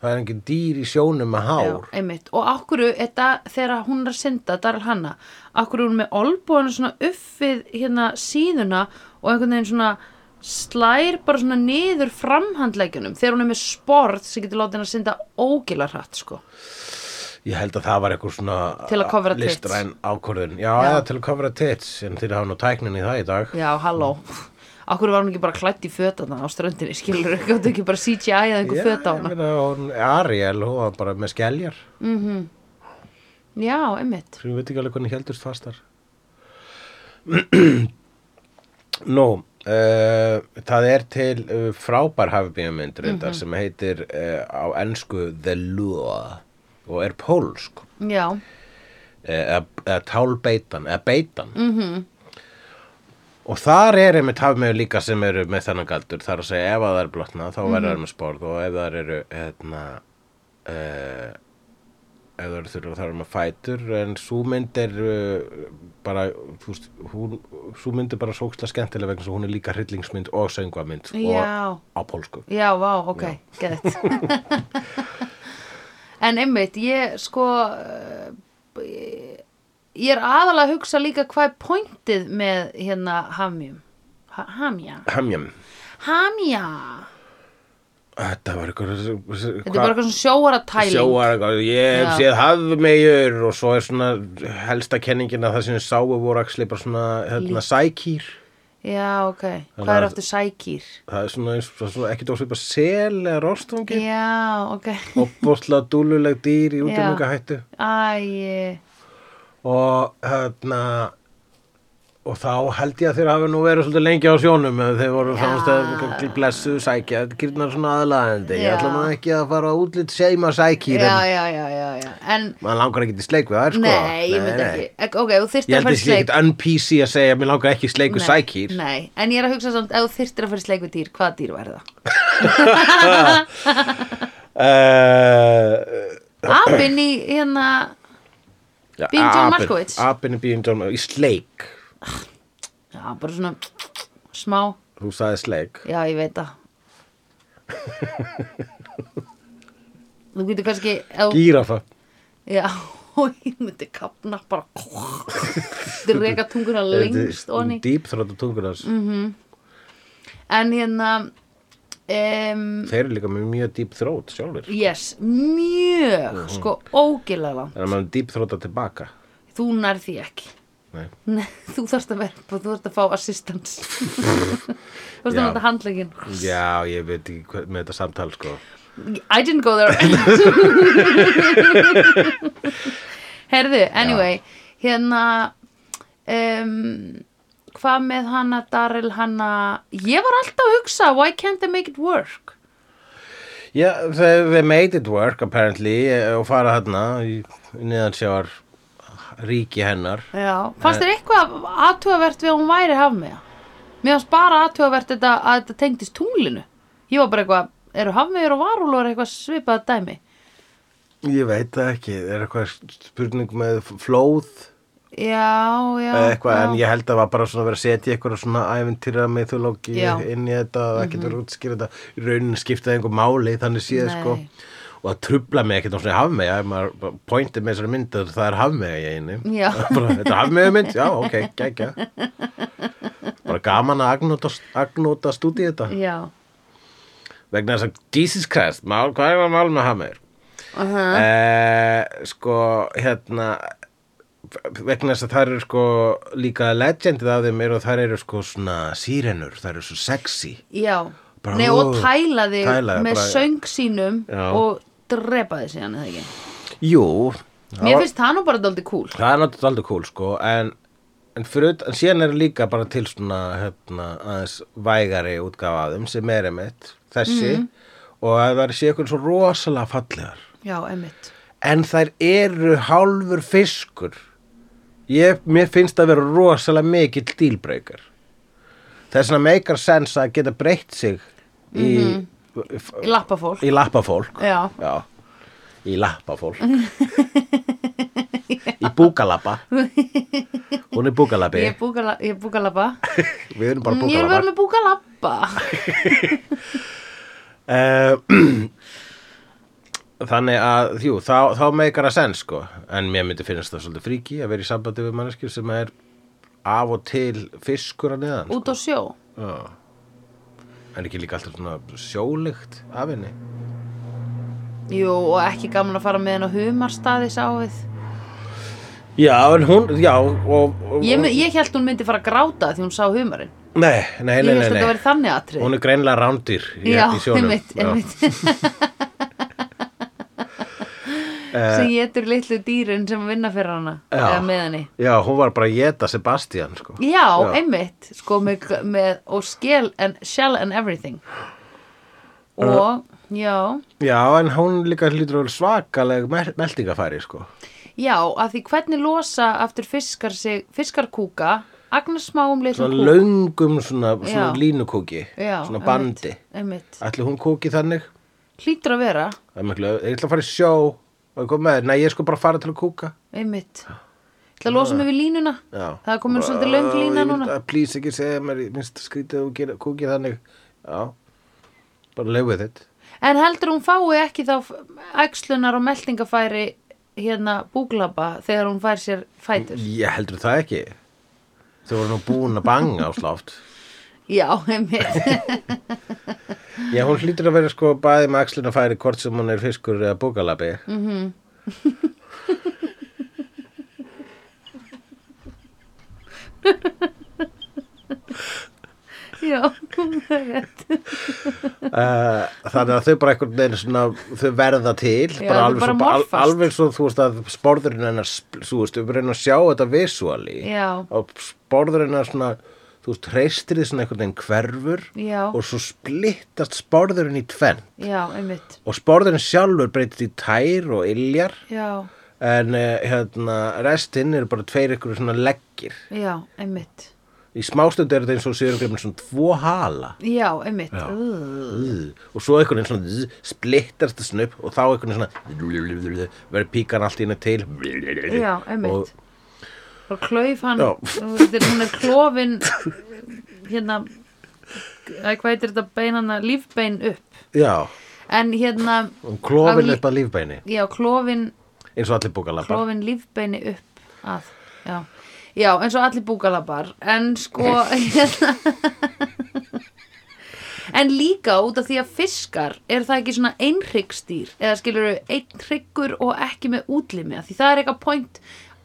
Speaker 3: Það er engin dýr í sjónum með
Speaker 2: já,
Speaker 3: hár.
Speaker 2: einmitt. Og akkuru, þetta, þegar hún er að synda, Daral Hanna, akkuru hún er með olbúinu svona upp við hérna síðuna og einhvern veginn svona slær bara svona niður framhandlegjunum þegar hún er með sporð sem getur látið henni að synda ógila hratt, sko.
Speaker 3: Ég held að það var eitthvað svona
Speaker 2: Til að covera tits.
Speaker 3: listræn ákvörðun. Já,
Speaker 2: Já.
Speaker 3: eða til að kofra tits, en þeir hafa nú tæknin í það í dag.
Speaker 2: Já, halló Akkur var hún ekki bara klætt í fötana á ströndinni, skilur ekki, áttu ekki bara CGI eða einhver föt á
Speaker 3: ég
Speaker 2: hana.
Speaker 3: meina, hún, Ariel, hún var bara með skeljar.
Speaker 2: Já, einmitt.
Speaker 3: sem við veit ekki alveg hvernig heldurst fastar *clears throat* Nú uh, það er til uh, frábær hafibíjamynd reyndar sem heitir uh, á ensku The Lure og er pólsk uh,
Speaker 2: Já,
Speaker 3: eða eða tálbeitan eða beitan -hmm.
Speaker 2: mhm.
Speaker 3: og þar er einmitt hafmeyju líka sem eru með þennan galdur þar að segja ef að það er blotna þá
Speaker 2: Mhm.
Speaker 3: verður það með sporð og ef það eru hérna uh, ef það eru þurfa þar með fætur en svo mynd er uh, bara, þú veist hún, svo mynd er bara sókslega skemmtilega vegna svo hún er líka hryllingsmynd og söngvamynd
Speaker 2: Já.
Speaker 3: og á pólsku
Speaker 2: já, vá, ok,
Speaker 3: *laughs*
Speaker 2: gett. en einmitt, ég sko, eh, ég er aðalega að hugsa líka hvað er pointið með hérna hamjum. Ha hamja.
Speaker 3: Hamjam,
Speaker 2: Hamja.
Speaker 3: þetta var eitthvað
Speaker 2: Þetta er bara eitthvað svona sjóaratæling.
Speaker 3: sjóar eitthvað, ég hef
Speaker 2: Já.
Speaker 3: séð hafmeyjur og svo er svona helsta kenningin að það sem við sáu voru axli bara svona hérna, sækýr
Speaker 2: Já, ok.
Speaker 3: Þannig
Speaker 2: Hvað
Speaker 3: að-
Speaker 2: er aftur sækýr?
Speaker 3: það er svona, eins- svona, svona ekki dósið bara sel eða rostungi
Speaker 2: Já, ok.
Speaker 3: og bóðslega dúluleg dýr í útlendinga
Speaker 2: Æ,
Speaker 3: og hérna og þá held ég að þeir hafi nú verið svolítið lengi á sjónum ef þeir voru fannst að blessu sækja þetta gyrnar svona aðlaðandi ég
Speaker 2: Já.
Speaker 3: ætla maður ekki að fara á útlit seima sækýr
Speaker 2: já,
Speaker 3: en
Speaker 2: já, já, já, já. En,
Speaker 3: maður langar ekki til sleik við það er sko
Speaker 2: nei, ég myndi
Speaker 3: nei.
Speaker 2: ekki Ek- Ok, þú
Speaker 3: Ég
Speaker 2: þyrftir að
Speaker 3: held
Speaker 2: fara
Speaker 3: að
Speaker 2: í
Speaker 3: sé
Speaker 2: sleik
Speaker 3: ekkert un-PC að segja að mér langar ekki í sleik við
Speaker 2: Nei,
Speaker 3: sækýr.
Speaker 2: Nei, en ég er að hugsa samt, ef þú þyrftir að fara í sleik við dýr, hvaða dýr væri það?
Speaker 3: Uh,
Speaker 2: Abinn í hérna
Speaker 3: ja,
Speaker 2: Being John
Speaker 3: apinn-
Speaker 2: Malkovich.
Speaker 3: Apinn er Bíum John Malkovich. Í sleik.
Speaker 2: Já, bara svona smá
Speaker 3: Þú sagði sleik
Speaker 2: Já, ég veit það Þú getur kannski ef,
Speaker 3: Gírafa
Speaker 2: Já, ég myndi kapna bara Þetta reka tunguna lengst Mhm. onni
Speaker 3: Dýp þróttu tungunars mm.
Speaker 2: En hérna um,
Speaker 3: Þeir eru líka með mjög dýp þrótt sjálfur
Speaker 2: Yes, mjög Sko ógilega langt
Speaker 3: Þannig að maður dýp þrótta tilbaka
Speaker 2: Þú nærð því ekki
Speaker 3: Nei.
Speaker 2: Nei, *laughs* þú þarft að vera, þú þarft að fá assistance Þú þarft að
Speaker 3: Já.
Speaker 2: nota handlegin
Speaker 3: Já, ég veit ekki hvað með þetta samtal sko
Speaker 2: I didn't go *laughs* there Herðu, anyway Hérna um, Hvað með hana Darrell hana Ég var alltaf að hugsa Why can't they make it work?
Speaker 3: Já, they, they made it work apparently eh, og fara hérna í neðansjáar ríki hennar
Speaker 2: Já,
Speaker 3: Eh.
Speaker 2: fannst þér eitthvað aðtugavert við að hún væri haf með Mér fannst bara aðtugavert þetta, að þetta tengdist tunglinu Ég var bara eitthvað, eru hafmeður og varúlur eitthvað svipað dæmi
Speaker 3: Ég veit það ekki, er eitthvað spurning með flóð
Speaker 2: Já, já,
Speaker 3: eða eitthvað,
Speaker 2: já.
Speaker 3: en ég held að það var bara svona að vera að setja eitthvað svona æventýra mythologi
Speaker 2: Já. Mhm.
Speaker 3: inn í þetta og ekkert verið að skýra þetta í rauninni skiptaði einhver máli þannig séð
Speaker 2: Nei.
Speaker 3: sko og það trubla mig ekkert á svona hafmeyja ef maður bara pointir með þessari mynd að það er hafmeyja í einu
Speaker 2: Já.
Speaker 3: *laughs* bara, þetta er hafmeyja mynd, já ok, gækja bara gaman að agnóta, agnóta stúdíu þetta
Speaker 2: Já,
Speaker 3: vegna þess að Jesus Christ, mál, hvað er mál með hafmeyjur?
Speaker 2: uh -huh.
Speaker 3: eh, sko hérna vegna þess að það eru sko líka legendið af þeim eru og það eru sko svona sírenur, það eru svo sexy
Speaker 2: Já,
Speaker 3: Bara,
Speaker 2: Nei,
Speaker 3: ó,
Speaker 2: og tæla þig
Speaker 3: tæla þig,
Speaker 2: með
Speaker 3: bara-
Speaker 2: söng sínum
Speaker 3: Já.
Speaker 2: og drepa þig síðan eða ekki
Speaker 3: Jú, það
Speaker 2: Mér
Speaker 3: var-
Speaker 2: finnst það nú bara dálítið cool
Speaker 3: það er náttúrulega aldrei cool sko en, en, fyrir, en síðan eru líka bara til svona hérna, aðeins vægari útgáfa af þeim sem er emitt þessi og að það sé ykkur svo rosalega fallegar
Speaker 2: Já, emmitt
Speaker 3: en þær eru hálfur fiskur ég, mér finnst það vera rosalega mikill dílbreykar það er svona meikar sens að geta breytt sig í,
Speaker 2: Í lappafólk
Speaker 3: í lappafólk
Speaker 2: Já.
Speaker 3: í
Speaker 2: *laughs*
Speaker 3: lappafólk í búkalappa hún er búkalappi
Speaker 2: Ég er búkala- ég er búkalappa Mm,
Speaker 3: við erum bara
Speaker 2: Ég er verið
Speaker 3: búkalappar
Speaker 2: með búkalappa
Speaker 3: uh, *clears throat* þannig að jú, þá, þá meikar að sens sko en mér myndi finnst það svolítið fríki að vera í sambandi við manneskjur sem er af og til fiskur að neðan
Speaker 2: Út á sjó
Speaker 3: Já. en ekki líka alltaf svona sjólygt af henni
Speaker 2: Jú, og ekki gaman að fara með henn á humarstaði sáið
Speaker 3: já, en hún, já og, og,
Speaker 2: Ég, mun- ég held hún myndi fara að gráta því hún sá humarinn
Speaker 3: nei, nei,
Speaker 2: Ég
Speaker 3: nei,
Speaker 2: held
Speaker 3: nei,
Speaker 2: að þetta
Speaker 3: nei.
Speaker 2: væri þannig atrið
Speaker 3: hún er greinilega rándýr í,
Speaker 2: Já,
Speaker 3: í sjónum
Speaker 2: einmitt,
Speaker 3: *laughs*
Speaker 2: einmitt sem getur litlu dýrin sem vinna fyrir hana
Speaker 3: Eh. Já.
Speaker 2: eða með henni
Speaker 3: Já. já, hún var bara að geta Sebastian sko.
Speaker 2: Já, einmitt sko, með, með, og skell and, shell and everything
Speaker 3: Uh,
Speaker 2: og já
Speaker 3: já, en hún líka hlýtur að vera svakaleg mel meldingafæri sko.
Speaker 2: já, að því hvernig losa aftur fiskar sig, fiskarkúka um agnarsmáum litlum
Speaker 3: svona
Speaker 2: kúk
Speaker 3: löngum svona, svona
Speaker 2: Já.
Speaker 3: línukóki
Speaker 2: já,
Speaker 3: svona bandi
Speaker 2: einmitt, einmitt.
Speaker 3: ætli hún kóki þannig
Speaker 2: hlýtur að vera,
Speaker 3: Það er miklu, ég ætla að fara í sjó og ég kom með þér, nei ég sko bara fara til að kóka
Speaker 2: einmitt ætla að losa mig við línuna
Speaker 3: Já.
Speaker 2: það er komin svolítið löng
Speaker 3: Ó,
Speaker 2: lína
Speaker 3: ég vil-
Speaker 2: núna
Speaker 3: að please ekki segja mér, ég minnst skrítið að hún gera- kóki þannig já, bara lefið þitt
Speaker 2: en heldur hún fái ekki þá æxlunar og meltingafæri hérna búglaba þegar hún fær sér fætur
Speaker 3: ég heldur það ekki þau voru nú búin að banga á slátt
Speaker 2: já, einmitt *laughs*
Speaker 3: já, hún hlýtur að vera sko bæði með axluna færi hvort sem hún er fiskur eða búkalabi
Speaker 2: Mm. já, það er rétt
Speaker 3: Eh, þannig að þau bara einhvern veginn svona, þau verða til
Speaker 2: Já,
Speaker 3: bara
Speaker 2: þau
Speaker 3: alveg,
Speaker 2: bara
Speaker 3: svo, al,
Speaker 2: morfast.
Speaker 3: alveg svo þú veist að sporðurinn hennar sp- þú veist, við reynum að sjá þetta visuali
Speaker 2: Já.
Speaker 3: og sporðurinn hennar svona þú veist, hreistir þið svona einhvern veginn hverfur
Speaker 2: Já.
Speaker 3: og svo splittast sporðurinn í tvenn
Speaker 2: Já, einmitt.
Speaker 3: og sporðurinn sjálfur breytist í tær og iljar
Speaker 2: Já,
Speaker 3: en eh, hérna, restinn eru bara tveir ykkur svona leggir
Speaker 2: já, einmitt.
Speaker 3: í smástund eru þetta eins og séu ykkur svona tvo hala
Speaker 2: Já, einmitt. Já.
Speaker 3: og svo einhvern veginn svona zzz, splittast þessan upp og þá einhvern veginn svona verður píkan allt í henni til
Speaker 2: Já, einmitt.
Speaker 3: og,
Speaker 2: og klauf hann
Speaker 3: Já.
Speaker 2: Þú veist, hún er klofin hérna æ, hvað heitir þetta beinana lífbein upp
Speaker 3: Já,
Speaker 2: en hérna,
Speaker 3: og klófin
Speaker 2: Að-
Speaker 3: upp að lífbeini
Speaker 2: já, klofin
Speaker 3: eins og allir búkalabbar
Speaker 2: klofin lífbeini upp að, já, já eins og allir búkalabar en sko *laughs* hérna en líka út af því að fiskar er það ekki svona einhryggstýr eða skilur þau einhryggur og ekki með útlimi af því það er eitthvað point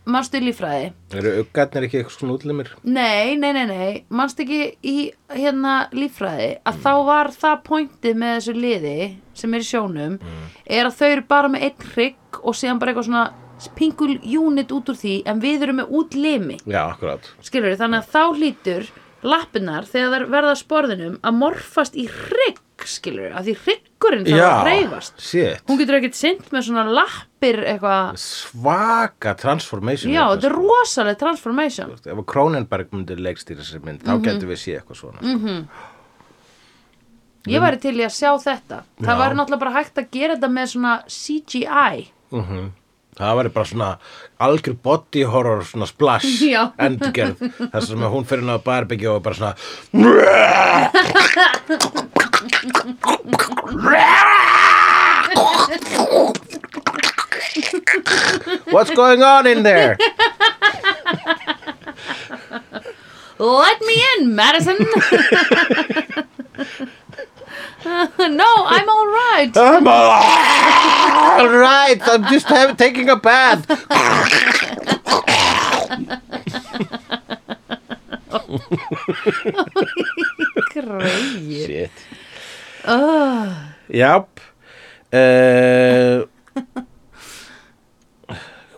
Speaker 2: mannstu í líffræði
Speaker 3: Eru uggarnir ekki eitthvað svona útlimir?
Speaker 2: Nei, nei, nei, nei, manst ekki í hérna líffræði að þá var það pointið með þessu liði sem er í sjónum er að þau eru bara með einn hrygg og síðan bara eitthvað svona pingul unit út úr því en við erum með útlimi,
Speaker 3: Já, akkurat
Speaker 2: skilur við, þannig að þá hlýtur lappinar þegar þær verða að sporðinum að morfast í hrygg, skilur við, að því hryggurinn þarf að reyfast.
Speaker 3: shit
Speaker 2: Hún getur ekkert sinnt með svona lappir eitthvað,
Speaker 3: Svaka transformation
Speaker 2: já,
Speaker 3: hérna,
Speaker 2: þetta er rosaleg transformation.
Speaker 3: sko. Ef að Cronenberg myndi leikstýra sér mynd
Speaker 2: Mhm.
Speaker 3: þá getum við séð eitthvað svona mm
Speaker 2: Ég væri til í að sjá þetta. Það
Speaker 3: Já.
Speaker 2: væri náttúrulega bara hægt að gera þetta með svona CGI.
Speaker 3: Það væri bara svona algjör body horror svona splash
Speaker 2: Já.
Speaker 3: endurgerð þar sem að hún fyrir inn á barbegjó og bara svona What's going on in there?
Speaker 2: Let me in, Madison! *laughs* no, I'm all right!
Speaker 3: I'm all right, I'm just have, taking a bath
Speaker 2: Greið.
Speaker 3: Shit Jáp uh,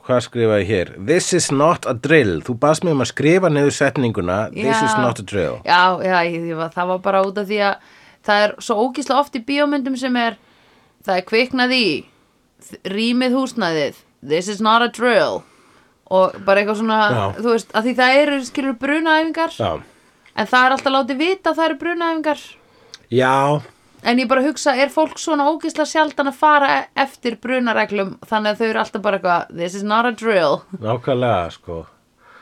Speaker 3: Hvað skrifaði hér? This is not a drill Þú baðst mig um að skrifa niður setninguna This is
Speaker 2: Já.
Speaker 3: not a drill
Speaker 2: Já, já, ég, ég, var- það var bara út af því að það er svo ógísla oft í bíómyndum sem er það er kviknað í þ- rýmið húsnæðið this is not a drill og bara eitthvað svona,
Speaker 3: Já.
Speaker 2: þú veist, að því það eru skilur brunaæfingar
Speaker 3: Já,
Speaker 2: en það er alltaf látið vita að það eru brunaæfingar
Speaker 3: já
Speaker 2: En ég bara hugsa, er fólk svona ógisla sjaldan að fara e- eftir brunareglum þannig að þau eru alltaf bara eitthvað, this is not a drill.
Speaker 3: nákvæmlega sko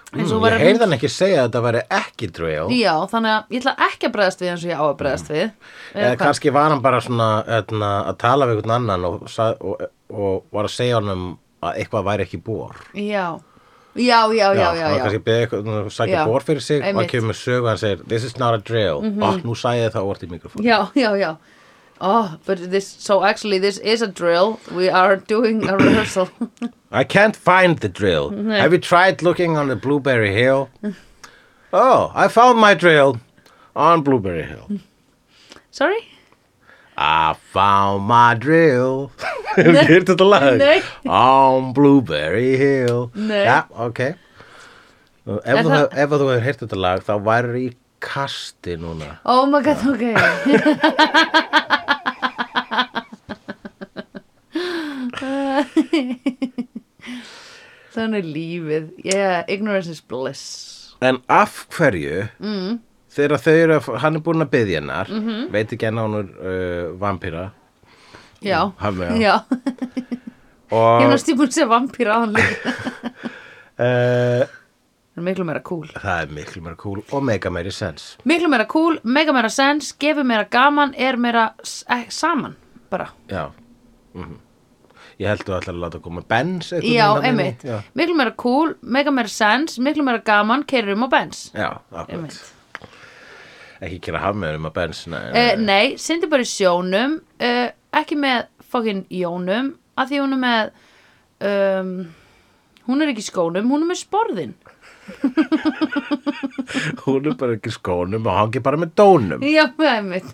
Speaker 2: En
Speaker 3: mm,
Speaker 2: svo
Speaker 3: Ég
Speaker 2: var að-
Speaker 3: heyrði hann ekki segja að þetta væri ekki drill
Speaker 2: Já, þannig að ég ætla ekki að bregðast við eins og ég á að bregðast við.
Speaker 3: Mm. Eða
Speaker 2: hvað?
Speaker 3: kannski var hann bara svona etna, að tala við einhvern annan og, sa- og, og var að segja honum að eitthvað væri ekki bór
Speaker 2: Já, já, já, já, já.
Speaker 3: hann var
Speaker 2: já,
Speaker 3: kannski beðið eitthvað um að
Speaker 2: Já.
Speaker 3: sækja bór fyrir sig og
Speaker 2: Einmitt. Mhm.
Speaker 3: hann kemur með sögu og hann segir this is not a drill mm nú sæði ég það orð í mikrofón
Speaker 2: já, já, já. Oh, but this, so actually this is a drill. We are doing a rehearsal. *laughs*
Speaker 3: I can't find the drill. Have you tried looking on the Blueberry
Speaker 2: *laughs*
Speaker 3: Hill? oh, I found my drill on Blueberry
Speaker 2: *laughs*
Speaker 3: Hill.
Speaker 2: Sorry?
Speaker 3: I found my drill. *laughs* Hefur þið hýrt þetta lag?
Speaker 2: Nei.
Speaker 3: On Blueberry Hill.
Speaker 2: Nei.
Speaker 3: Já, ok. Og Ef
Speaker 2: Er
Speaker 3: þú,
Speaker 2: það-
Speaker 3: hef, ef þú hefur hýrt þetta lag, þá væri í kasti núna.
Speaker 2: Oh my god, ok. Þannig er lífið. Yeah, ignorance is bliss. Mm,
Speaker 3: En af hverju þegar þau eru, að- hann er búinn að byðja hennar,
Speaker 2: Mhm.
Speaker 3: veit ekki hennar hún er uh, vampíra
Speaker 2: Já,
Speaker 3: Hann er-
Speaker 2: já.
Speaker 3: og
Speaker 2: Ég er næstu búin að segja vampýra á hann líka.
Speaker 3: uh,
Speaker 2: Það er miklu meira cool.
Speaker 3: það er miklu meira cool og mega meiri sens.
Speaker 2: Miklu meira cool, mega meira sens, gefur meira gaman, er meira s- eh, saman, bara.
Speaker 3: Já. Mm Ég held þú ætlar að láta koma bens einhvern
Speaker 2: Já,
Speaker 3: veginn þarna inn í-
Speaker 2: einmitt. Miklu meira cool, mega meira sens, miklu meira gaman, keirum og bens.
Speaker 3: Já, já akkurat.
Speaker 2: Einmitt.
Speaker 3: Ekki gera hafmiður um að bens, nei.
Speaker 2: Uh, nei, syndi bara í sjónum, uh, ekki með fokkin jónum, að því hún er með, um, hún er ekki í skónum, hún er með sporðin.
Speaker 3: Hún er bara ekki í skónum og hangi bara með dónum.
Speaker 2: *laughs* Já, einmitt.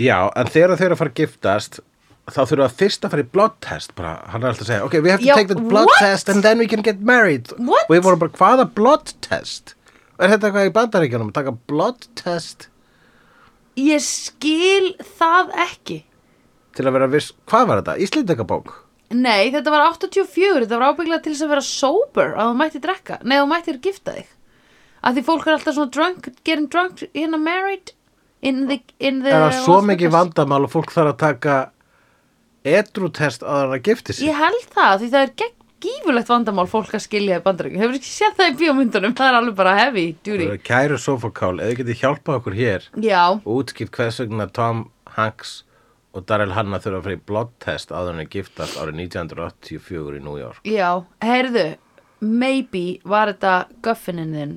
Speaker 3: Já, en þegar þau eru að fara að giftast, þá þurfa að fyrst að fara í blood test. Bara, hann er alltaf að segja, ok, we have to
Speaker 2: Já,
Speaker 3: take that blood
Speaker 2: what?
Speaker 3: test and then we can get married.
Speaker 2: What?
Speaker 3: Og ég voru bara, hvaða blood test? Er þetta eitthvað í bandaríkjunum að taka blood test
Speaker 2: Ég skil það ekki.
Speaker 3: til að vera viss, hvað var þetta? Íslendingabók?
Speaker 2: Nei, þetta var 84, þetta var ábygglega til þess að vera sober að þú mættir drekka, nei þú mættir gifta þig að því fólk er alltaf svona drunk, getting drunk, hérna married in the, in the
Speaker 3: er það svo
Speaker 2: Las
Speaker 3: mikið
Speaker 2: Vegas.
Speaker 3: vandamál og fólk þarf að taka edru test að hann að gifti sig
Speaker 2: Ég held það, því það er gegn gífulegt vandamál fólk að skilja í bandaríkjum. Hefur ekki séð það í bíómyndunum, það er alveg bara heavy, djúri.
Speaker 3: yeah. Kæru sofakál, eða getið hjálpað okkur hér
Speaker 2: Já,
Speaker 3: útskýrt hvers vegna Tom Hanks og Daryl Hanna þurfa að fyrir blóttest áður en að giftast árið 1984 í New York
Speaker 2: já, heyrðu, maybe var þetta göffinin þinn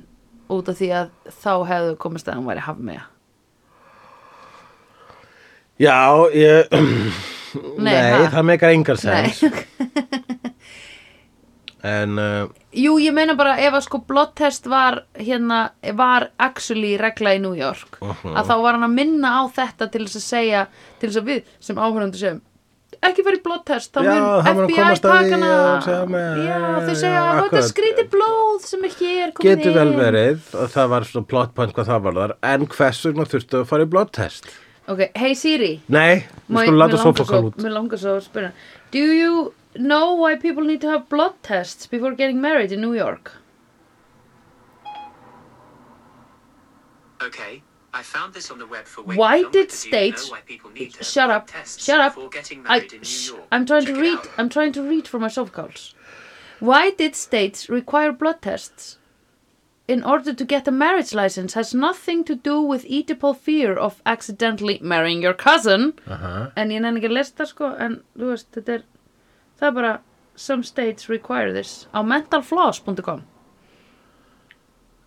Speaker 2: út af því að þá hefðu komist að hún væri haf með.
Speaker 3: Já, ég *clears throat* Nei,
Speaker 2: ha?
Speaker 3: það meikar engar sens
Speaker 2: Nei. *laughs*
Speaker 3: En uh,
Speaker 2: Jú, ég meina bara ef að sko blóttest var hérna, var actually regla í New York, að þá var hann að minna á þetta til þess að segja, til þess að við sem áhverjandi segjum, ekki verið blóttest, þá
Speaker 3: Já, það
Speaker 2: mun
Speaker 3: mun að
Speaker 2: FBI
Speaker 3: komast að því
Speaker 2: takana.
Speaker 3: og segja með-
Speaker 2: Já, þau
Speaker 3: já,
Speaker 2: segja
Speaker 3: já,
Speaker 2: að þetta
Speaker 3: akkurat.
Speaker 2: skríti blóð sem ekki er komið
Speaker 3: getur vel
Speaker 2: inn."
Speaker 3: verið og það var svona plot point hvað það var þar en hvers vegna þurftu að fara í blóttest
Speaker 2: Ok, hey Siri.
Speaker 3: Nei, við
Speaker 2: Má
Speaker 3: skulum
Speaker 2: ég- mig
Speaker 3: láta
Speaker 2: langar
Speaker 3: sofakál
Speaker 2: svo-
Speaker 3: út
Speaker 2: Mér langar svo að spyrja. Do you know why people need to have blood tests before getting married in New York?
Speaker 5: Okay, I found this on the web for way
Speaker 2: Why
Speaker 5: longer.
Speaker 2: did
Speaker 5: Do you
Speaker 2: states-
Speaker 5: know why people need to have
Speaker 2: Shut up,
Speaker 5: blood tests
Speaker 2: shut up.
Speaker 5: before getting
Speaker 2: I,
Speaker 5: married in New
Speaker 2: shh,
Speaker 5: York?
Speaker 2: I'm trying to
Speaker 5: Check it
Speaker 2: read.
Speaker 5: out.
Speaker 2: I'm trying to read for my sofacalls. Why did states require blood tests in order to get a marriage license has nothing to do with Oedipal fear of accidentally marrying your cousin. En ég nenni ekki að lesta sko, en þú veist, þetta er, það er bara, some states require this á mentalflaws.com.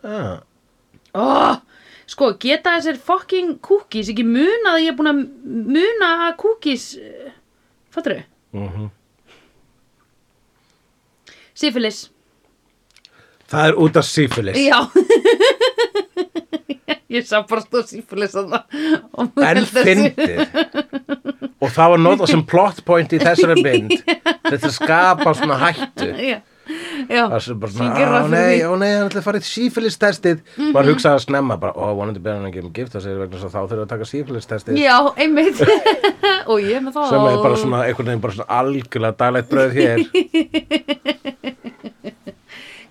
Speaker 3: ah,
Speaker 2: Oh, sko, geta þessir fucking cookies ekki muna að ég er búin að muna að cookies eh, Fattarðu?
Speaker 3: Mhm.
Speaker 2: Sífilis
Speaker 3: Það er út af sífilis
Speaker 2: Já *laughs* Ég sá bara stóð sífilis þarna og mér
Speaker 3: En
Speaker 2: held að sé-
Speaker 3: fyndið Og það var notað sem plot point í þessari
Speaker 2: *laughs*
Speaker 3: mynd Þetta skapa svona hættu
Speaker 2: Já, já
Speaker 3: Það sem bara
Speaker 2: Sem
Speaker 3: svona, á
Speaker 2: gera fyrir
Speaker 3: nei,
Speaker 2: því."
Speaker 3: á nei, hann ætlaði að fara í sífélistestið mm
Speaker 2: Mhm.
Speaker 3: -hmm. Bara hugsaði að snemma, bara, ó, vonandi byrja hann ekki um gift Það segir vegna þess að þá þurfum við að taka sífélistestið
Speaker 2: Já, einmitt *laughs* Og ég er með það
Speaker 3: Sem er bara svona, einhvern veginn bara svona algjörlega dælætt bröð
Speaker 2: *laughs*
Speaker 3: hér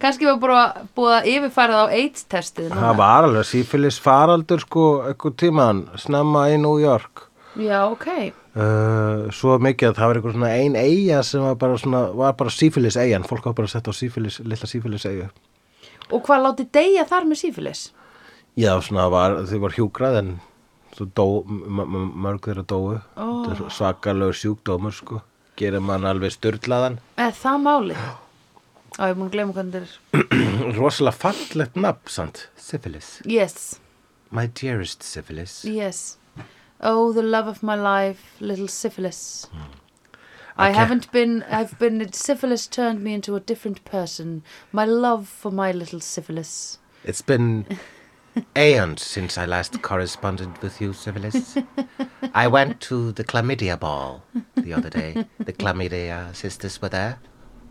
Speaker 2: Kannski var bara búið að yfirfæra það á AIDS-testið núna.
Speaker 3: Það var alveg sífélis faraldur, sko, einhvern tíman Snemma í New York
Speaker 2: Já, ok
Speaker 3: uh, Svo mikið að það var einhver svona ein eiga Sem var bara svona, var bara sífélis eigan Fólk var bara að setja á sífélis, litla sífélis eigu
Speaker 2: Og hvað láti deyja þar með sífilis?
Speaker 3: Já, svona var, þau var hjúkrað en svo dó, m- m- mörg þeirra dóu
Speaker 2: Ó.
Speaker 3: Þetta er svakalegur sjúkdómur sko gerir mann alveg styrlaðan
Speaker 2: Er það málið? Á, ég er búin að gleyma hvernig þetta er.
Speaker 3: *clears throat* rosalega fallegt nafn sant syphilis,
Speaker 2: Yes,
Speaker 3: my dearest syphilis
Speaker 2: yes. Oh, the love of my life, little syphilis.
Speaker 3: Hmm.
Speaker 2: I
Speaker 3: Okay.
Speaker 2: haven't been, I've been, syphilis turned me into a different person. My love for my little syphilis.
Speaker 3: it's been aeons since I last corresponded with you syphilis I went to the chlamydia ball the other day the chlamydia sisters were there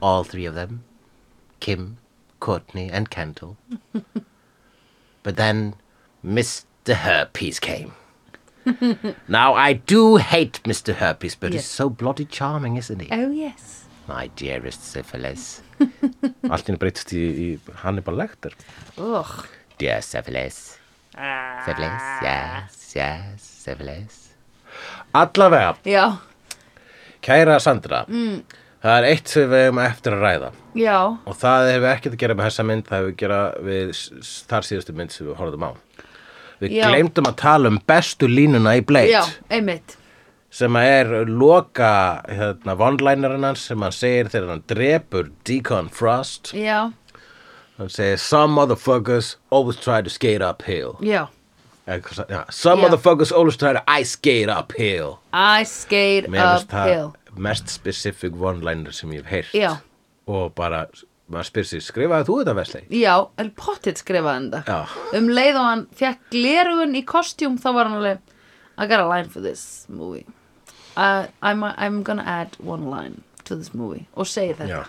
Speaker 3: all three of them Kim, Courtney, and Kendall. but then Mr. Herpes came. now, I do hate Mr. Herpes, but he's so bloody charming, isn't he?
Speaker 2: Oh, yes.
Speaker 3: My dearest syphilis. Allt hérna breytist í, í Hannibal Lecter.
Speaker 2: Ugh.
Speaker 3: Dear syphilis. Syphilis,
Speaker 2: Ah.
Speaker 3: yes, yes, syphilis. Allavega,
Speaker 2: Já,
Speaker 3: kæra Sandra, mm. það er eitt sem við hefum eftir að ræða.
Speaker 2: já,
Speaker 3: og það hefur ekkert að gera með þessa mynd það hefur að gera við s- s- þar síðustu mynd sem við horfðum á við
Speaker 2: Já.
Speaker 3: gleymdum að tala um bestu línuna í Blade
Speaker 2: já, einmitt.
Speaker 3: sem að er loka hérna, vonlinerinn hans sem hann segir þegar hann drepur Deacon Frost
Speaker 2: Já,
Speaker 3: hann segir some motherfuckers always try to skate uphill
Speaker 2: já.
Speaker 3: Eh, hvað sa- já, some
Speaker 2: Já.
Speaker 3: motherfuckers always try to ice skate uphill
Speaker 2: I skate
Speaker 3: mér finnst
Speaker 2: uphill.
Speaker 3: það mest specific one-liner sem ég hef heyrt
Speaker 2: Já.
Speaker 3: og bara maður spyr sér skrifaði þú þetta Vesli?
Speaker 2: Já, El Pottit skrifaði þetta
Speaker 3: Já.
Speaker 2: Um leið og hann fekk glerugun í kostjúm þá var hann alveg I got a line for this movie uh, I'm, I'm gonna add one line to this movie og segi þetta
Speaker 3: Já.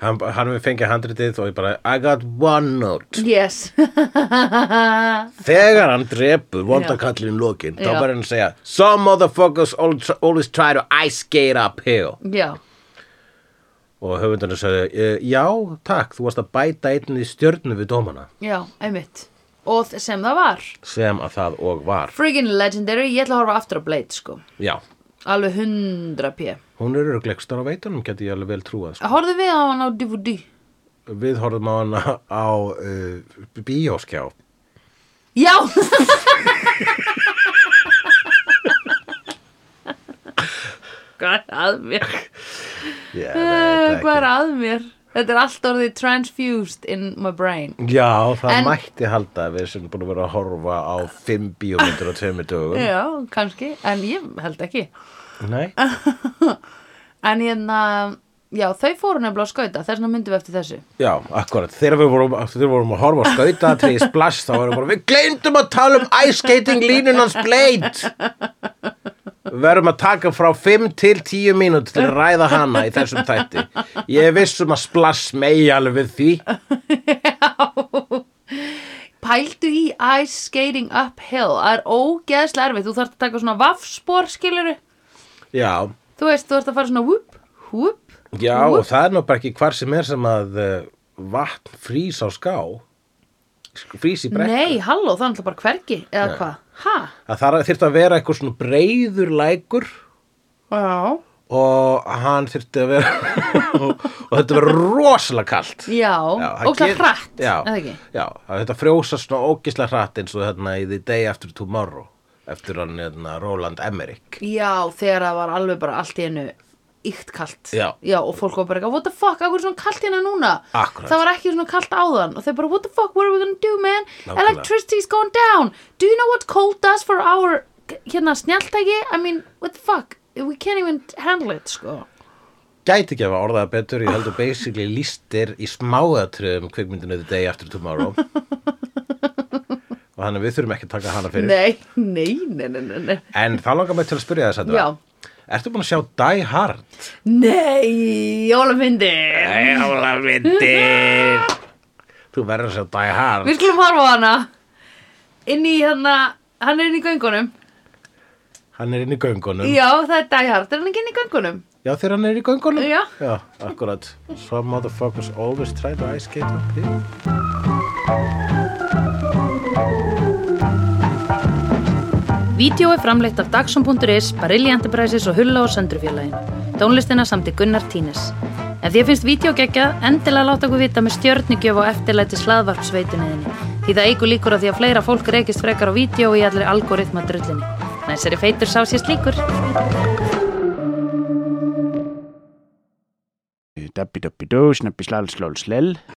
Speaker 3: Hann, hann við fengið handritið og ég bara I got one note
Speaker 2: Yes *laughs*
Speaker 3: Þegar hann drepur vondakallin lokin þá
Speaker 2: Já.
Speaker 3: var hann að segja Some motherfuckers al- always try to ice skate uphill
Speaker 2: Já,
Speaker 3: og höfundurinn sagði "Eh, Já, takk, þú varst að bæta einnig stjörnu við dómana
Speaker 2: já, einmitt Og þ- sem það var
Speaker 3: sem að það og var
Speaker 2: Friggin legendary, ég ætla að horfa aftur á Blade sko
Speaker 3: Já,
Speaker 2: alveg 100 p
Speaker 3: Hún er örglegstar á veitunum, geti ég alveg vel trúað. Sko.
Speaker 2: horfðu við á hann á DVD
Speaker 3: Við horfum á hana á uh, bíóskjá.
Speaker 2: já, *laughs* hvað er að mér
Speaker 3: Ég
Speaker 2: Eh,
Speaker 3: veit
Speaker 2: hvað er
Speaker 3: ekki.
Speaker 2: að mér þetta er allt orðið transfused in my brain
Speaker 3: Mm. Já, það
Speaker 2: En-
Speaker 3: mætti halda að við sem búin að vera að horfa á fimm bíómyndir á tveimur dögum.
Speaker 2: já, kannski, en ég held ekki
Speaker 3: Nei,
Speaker 2: Eh. en hérna, já, þau fóru nefnilega að skauta þess vegna myndum við eftir þessu *laughs*
Speaker 3: já, akkurat. Þegar við vorum, þegar við vorum að horfa á skauta til í splash, þá varum við bara, við gleymdum að tala um ice skating línunans blade. Við verðum að taka frá 5 til 10 mínútur til að ræða hana í þessum tætti. Ég er viss um að splash megi alveg við því.
Speaker 2: pældu í ice skating uphill það er ógeðslega erfið, þú þarft að taka svona vaffspor skiluru,
Speaker 3: Já,
Speaker 2: þú veist, þú þarft að fara svona whoop, whoop,
Speaker 3: já, og það er nú bara ekki hvar sem er sem að eh, vatn frýs á ská. Frýs í brekku.
Speaker 2: nei, halló það er náttúrulega bara hvergi, eða hvað, ha
Speaker 3: að það þyrfti að vera eitthvað svona breyður lækur
Speaker 2: já,
Speaker 3: og hann þyrfti að vera *laughs* og, og þetta verið rosalega kalt
Speaker 2: já,
Speaker 3: það
Speaker 2: ógeðslega
Speaker 3: ger-
Speaker 2: hratt
Speaker 3: já,
Speaker 2: eða ekki,
Speaker 3: já, að þetta frjósa svona ógislega hratt eins og þarna í The Day After Tomorrow eftir hann hérna, Roland Emmerich
Speaker 2: já, þegar það var alveg bara allt í einu ykt kalt,
Speaker 3: Já.
Speaker 2: og fólk var bara eitthvað, what the fuck, akkur er svona kalt hérna núna
Speaker 3: Akkúrat.
Speaker 2: það var ekki svona kalt áðan og þeir bara, what the fuck, what are we gonna do man
Speaker 3: Nákvæmlega.
Speaker 2: electricity's gone down do you know what cold does for our hérna snjaltæki, I mean, what the fuck we can't even handle it, sko
Speaker 3: gæti ekki að hafa orðað það betur ég heldur basically lístir í smáðatröðum kvikmyndinu The Day After Tomorrow og þannig að við þurfum ekki að taka hana fyrir
Speaker 2: nei, nei, nei, nei, nei, nei
Speaker 3: en þá langar mig til að spyrja þess
Speaker 2: Já.
Speaker 3: að ertu búin að sjá Die Hard?
Speaker 2: nei, jólafindi
Speaker 3: Jólamyndir Þú verður að sjá Die Hard
Speaker 2: við skulum horfa á hana inn í hérna, hann er inn í göngunum
Speaker 3: Hann er inn í göngunum
Speaker 2: já, það er daghjart, er hann ekki inn í göngunum
Speaker 3: Já, þegar hann er í göngunum
Speaker 2: Já.
Speaker 3: Já, akkurat Some motherfuckers always try to ice skate up here
Speaker 6: Vídeó er framleitt af Dagsum.is, Barilli Enterprises og Hulla og Söndrufjörlægin. Tónlistina samt í Gunnar Tínes. Ef því finnst vídeo geggja, endilega láta okkur vita með stjörnigjöf og eftirlæti slaðvarpsveituninni. Því það eigur líkur að því að fleira fólk reykist frekar á vídeo í allir algoritma drullinni. Næsari feitur sá sér slíkur.
Speaker 7: Dabbi dabbi dó, snabbi slal slal slel.